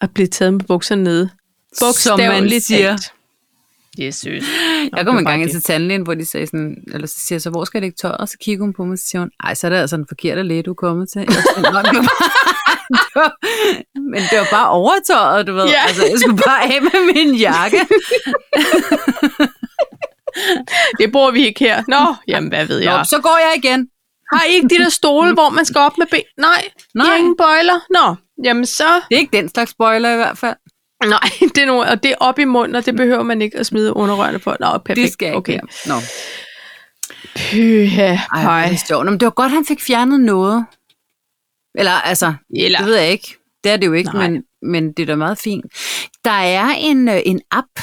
Speaker 2: at blive taget med bukserne nede. Bogstaveligt
Speaker 1: siger.
Speaker 2: talt. Jesus.
Speaker 1: Jeg kom engang ind til tandlægen, hvor de sagde sådan, eller så siger jeg så, hvor skal jeg lægge tøjet? Og så kigger hun på mig, og så siger hun, ej, så er det altså den forkerte læge, du er kommet til. Jeg tænkte, "Nå, det var- Men det var bare overtøjet, du ved.
Speaker 2: Ja.
Speaker 1: Altså, jeg skulle bare af med min jakke.
Speaker 2: Det bruger vi ikke her. Nå, jamen hvad ved
Speaker 1: Ja. Nå,
Speaker 2: jeg.
Speaker 1: så går jeg igen.
Speaker 2: Har I ikke de der stole, hvor man skal op med ben? Nej, Nej.
Speaker 1: Nej.
Speaker 2: ingen bøjler. Nå, jamen så...
Speaker 1: Det er ikke den slags spoiler i hvert fald.
Speaker 2: Nej, det er nogle, og det er op i munden, og det behøver man ikke at smide underrørende på. Nå, perfekt.
Speaker 1: Det skal jeg
Speaker 2: okay.
Speaker 1: okay. Nå.
Speaker 2: Pyha,
Speaker 1: Ej, hvor er
Speaker 2: pej.
Speaker 1: det sjovt. Nå, men det var godt, han fik fjernet noget. Eller altså,
Speaker 2: Eller,
Speaker 1: Det ved jeg ikke. Det er det jo ikke,
Speaker 2: Nej.
Speaker 1: men, men det er da meget fint. Der er en, øh, en app,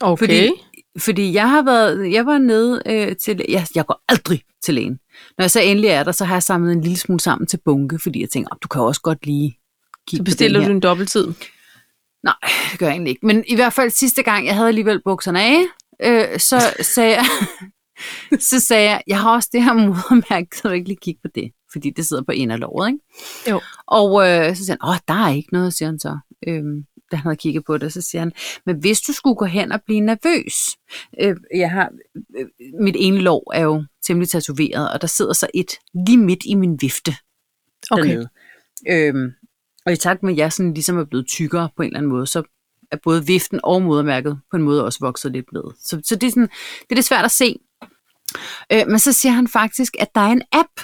Speaker 2: okay.
Speaker 1: fordi- fordi jeg har været, jeg var nede øh, til, jeg, jeg går aldrig til lægen. Når jeg så endelig er der, så har jeg samlet en lille smule sammen til bunke, fordi jeg tænker, oh, du kan jo også godt lige kigge
Speaker 2: så bestiller
Speaker 1: på den
Speaker 2: du
Speaker 1: her.
Speaker 2: en dobbelttid.
Speaker 1: Nej, det gør jeg egentlig ikke. Men i hvert fald sidste gang, jeg havde alligevel bukserne af, øh, så sagde jeg, så sagde jeg, jeg har også det her modermærke, så du ikke lige kigge på det, fordi det sidder på en af låret, ikke?
Speaker 2: Jo.
Speaker 1: Og øh, så siger han, åh, der er ikke noget, siger han så, øhm, da han havde kigget på det. Så siger han, men hvis du skulle gå hen og blive nervøs, øh, jeg har, øh, mit ene lår er jo temmelig tatoveret, og der sidder så et lige midt i min vifte
Speaker 2: Okay.
Speaker 1: dernede. Øhm, og i takt med, at jeg sådan ligesom er blevet tykkere på en eller anden måde, så er både viften og modermærket på en måde også vokset lidt med. Så, så det, er sådan, det er lidt svært at se. Øh, men så siger han faktisk, at der er en app,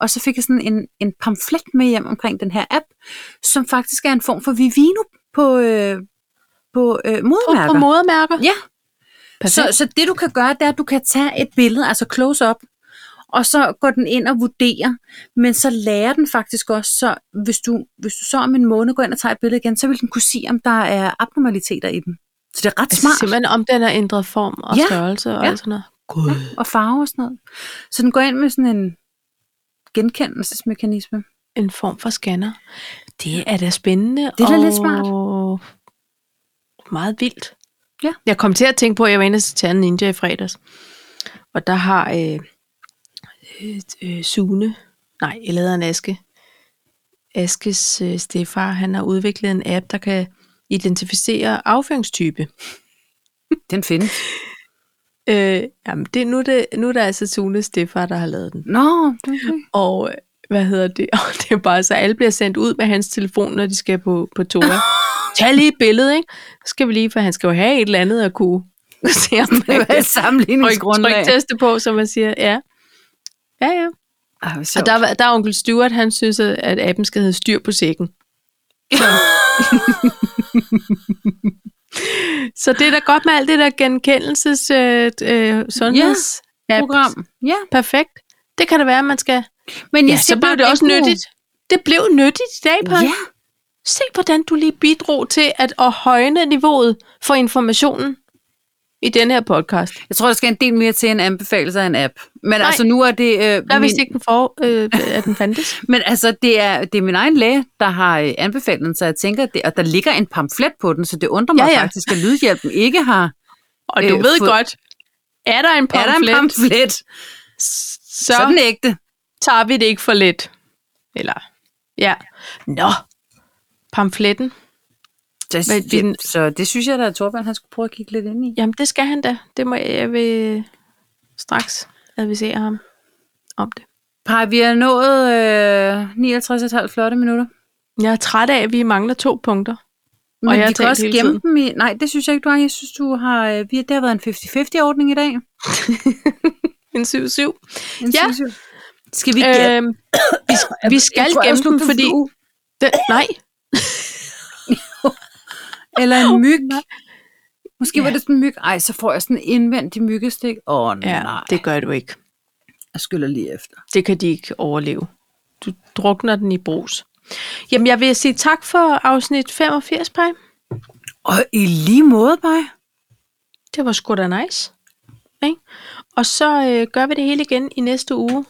Speaker 1: og så fik jeg sådan en, en pamflet med hjem omkring den her app, som faktisk er en form for Vivino på, øh, på øh,
Speaker 2: Og på
Speaker 1: modermærker.
Speaker 2: modermærker.
Speaker 1: Ja. Så,
Speaker 2: Perfekt.
Speaker 1: så det du kan gøre, det er, at du kan tage et billede, altså close up, og så går den ind og vurderer, men så lærer den faktisk også, så hvis du, hvis du så om en måned går ind og tager et billede igen, så vil den kunne se, om der er abnormaliteter i den. Så det er ret
Speaker 2: Altså,
Speaker 1: smart,
Speaker 2: simpelthen om den har ændret form og
Speaker 1: Ja,
Speaker 2: størrelse og
Speaker 1: ja.
Speaker 2: alt sådan noget. God.
Speaker 1: og farve og sådan noget. Så den går ind med sådan en genkendelsesmekanisme.
Speaker 2: En form for scanner. Det er da spændende.
Speaker 1: Det er da
Speaker 2: og...
Speaker 1: lidt smart.
Speaker 2: Meget vildt.
Speaker 1: Ja.
Speaker 2: Jeg kom til at tænke på, at jeg var inde til Tjernen Ninja i fredags. Og der har øh, øh, øh, Sune, nej, jeg lavede en Aske. Askes øh, stefar, han har udviklet en app, der kan identificere afføringstype.
Speaker 1: Den findes.
Speaker 2: Øh, jamen, det, nu, er det, nu er det altså Sunes stefar, der har lavet den.
Speaker 1: Nå, det er okay.
Speaker 2: Og øh, hvad hedder det? Og det er bare så, alle bliver sendt ud med hans telefon, når de skal på, på toa. Tag lige et billede, ikke? Så skal vi lige, for han skal jo have et eller andet at kunne se, om
Speaker 1: det var et sammenligningsgrundlag.
Speaker 2: teste på, som man siger. Ja, ja. ja.
Speaker 1: Ej, hvor
Speaker 2: Og
Speaker 1: Ah, sjovt.
Speaker 2: der, var- der er onkel Stuart, han synes, at at appen skal hedde styr på sækken. Så, så det er da godt med alt det der genkendelses øh, øh, sundheds
Speaker 1: program. Ja,
Speaker 2: Perfekt. Det kan det være, at man skal
Speaker 1: men
Speaker 2: Ja, så blev det også nyttigt. Det blev nyttigt i dag, Paj.
Speaker 1: Ja,
Speaker 2: Se, hvordan du lige bidrog til at, at højne niveauet for informationen i den her podcast.
Speaker 1: Jeg tror, der skal en del mere til en anbefaling af en app. Men Nej, altså, nu er det... Øh,
Speaker 2: Der
Speaker 1: min-
Speaker 2: vidste ikke, den for, øh, at den fandtes.
Speaker 1: Men altså, det er, det er min egen læge, der har øh, anbefalet den, så jeg tænker, det, og der ligger en pamflet på den, så det undrer mig
Speaker 2: Ja,
Speaker 1: ja,
Speaker 2: ja.
Speaker 1: ja. faktisk, at Lydhjælpen ikke har...
Speaker 2: Og du
Speaker 1: Øh,
Speaker 2: ved
Speaker 1: fået-
Speaker 2: godt, er der en
Speaker 1: Er der
Speaker 2: pamflet,
Speaker 1: en pamflet? Så.
Speaker 2: så
Speaker 1: er den ægte.
Speaker 2: tager vi det ikke for let. Eller, ja. Nå, pamfletten. Hvad er
Speaker 1: Så,
Speaker 2: din-
Speaker 1: det, så det synes jeg, der er Torvald, han skulle prøve at kigge lidt ind i.
Speaker 2: Jamen, det skal han da. Det må jeg, jeg vil straks advisere ham om det.
Speaker 1: Paj, vi har nået øh, 59,5 flotte minutter.
Speaker 2: Jeg er træt af, at vi mangler to punkter.
Speaker 1: Men
Speaker 2: jeg
Speaker 1: vi
Speaker 2: har
Speaker 1: kan
Speaker 2: talt
Speaker 1: også
Speaker 2: hele
Speaker 1: gemme
Speaker 2: tiden.
Speaker 1: dem i... Nej, det synes jeg ikke, du har. Jeg synes, du har... øh, Vi har, det har været en 50-50-ordning i dag.
Speaker 2: En 7-7.
Speaker 1: En
Speaker 2: Ja.
Speaker 1: synes jeg. Skal vi gemme?
Speaker 2: Øhm, vi, vi skal
Speaker 1: Jeg tror, jeg
Speaker 2: gemme dem,
Speaker 1: slugte en
Speaker 2: fordi...
Speaker 1: flue
Speaker 2: Den, nej,
Speaker 1: Eller en myg. Måske
Speaker 2: Ja.
Speaker 1: var det sådan en myg. Ej, så får jeg sådan en indvendig myggestik. Åh, oh, nej.
Speaker 2: ja, det gør du ikke.
Speaker 1: Jeg skyller lige efter.
Speaker 2: Det kan de ikke overleve. Du drukner den i brus. Jamen, jeg vil sige tak for afsnit 85, Paj.
Speaker 1: Og i lige måde, Paj.
Speaker 2: Det var sgu da nice. Ikke? Og så øh, gør vi det hele igen i næste uge.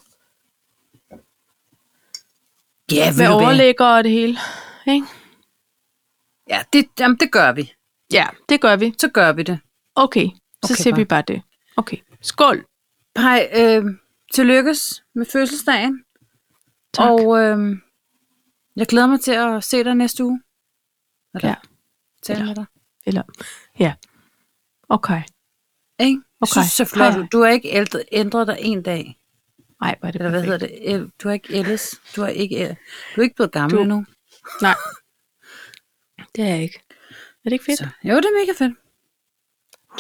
Speaker 1: Ja, ved
Speaker 2: Med
Speaker 1: du hvad?
Speaker 2: overlægger og det hele. Ikke?
Speaker 1: Ja, det, jamen, det gør vi.
Speaker 2: Ja, det gør vi.
Speaker 1: Så gør vi det.
Speaker 2: Okay, så
Speaker 1: Okay,
Speaker 2: okay, ser
Speaker 1: Paj.
Speaker 2: vi bare det. Okay, skål.
Speaker 1: Pej, øh, tillykkes med fødselsdagen.
Speaker 2: Tak.
Speaker 1: Og øh, jeg glæder mig til at se dig næste uge. Eller
Speaker 2: Ja.
Speaker 1: tale
Speaker 2: Eller-
Speaker 1: med dig.
Speaker 2: Eller, ja. Okay.
Speaker 1: Ikke? Jeg
Speaker 2: Okay.
Speaker 1: synes, så flot.
Speaker 2: Hej,
Speaker 1: ud.
Speaker 2: hej.
Speaker 1: Du har ikke ældre, ændret dig en dag.
Speaker 2: Nej, var det
Speaker 1: Eller hvad hedder det? El- Du har ikke ældes. Du har ikke, æ- du er ikke blevet gammel
Speaker 2: Du-
Speaker 1: du. endnu.
Speaker 2: Nej. Det er jeg ikke. Er det ikke fedt?
Speaker 1: Så. Jo, det er mega fedt.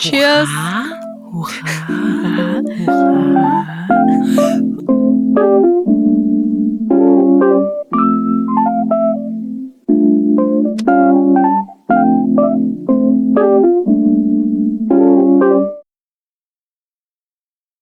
Speaker 2: Cheers.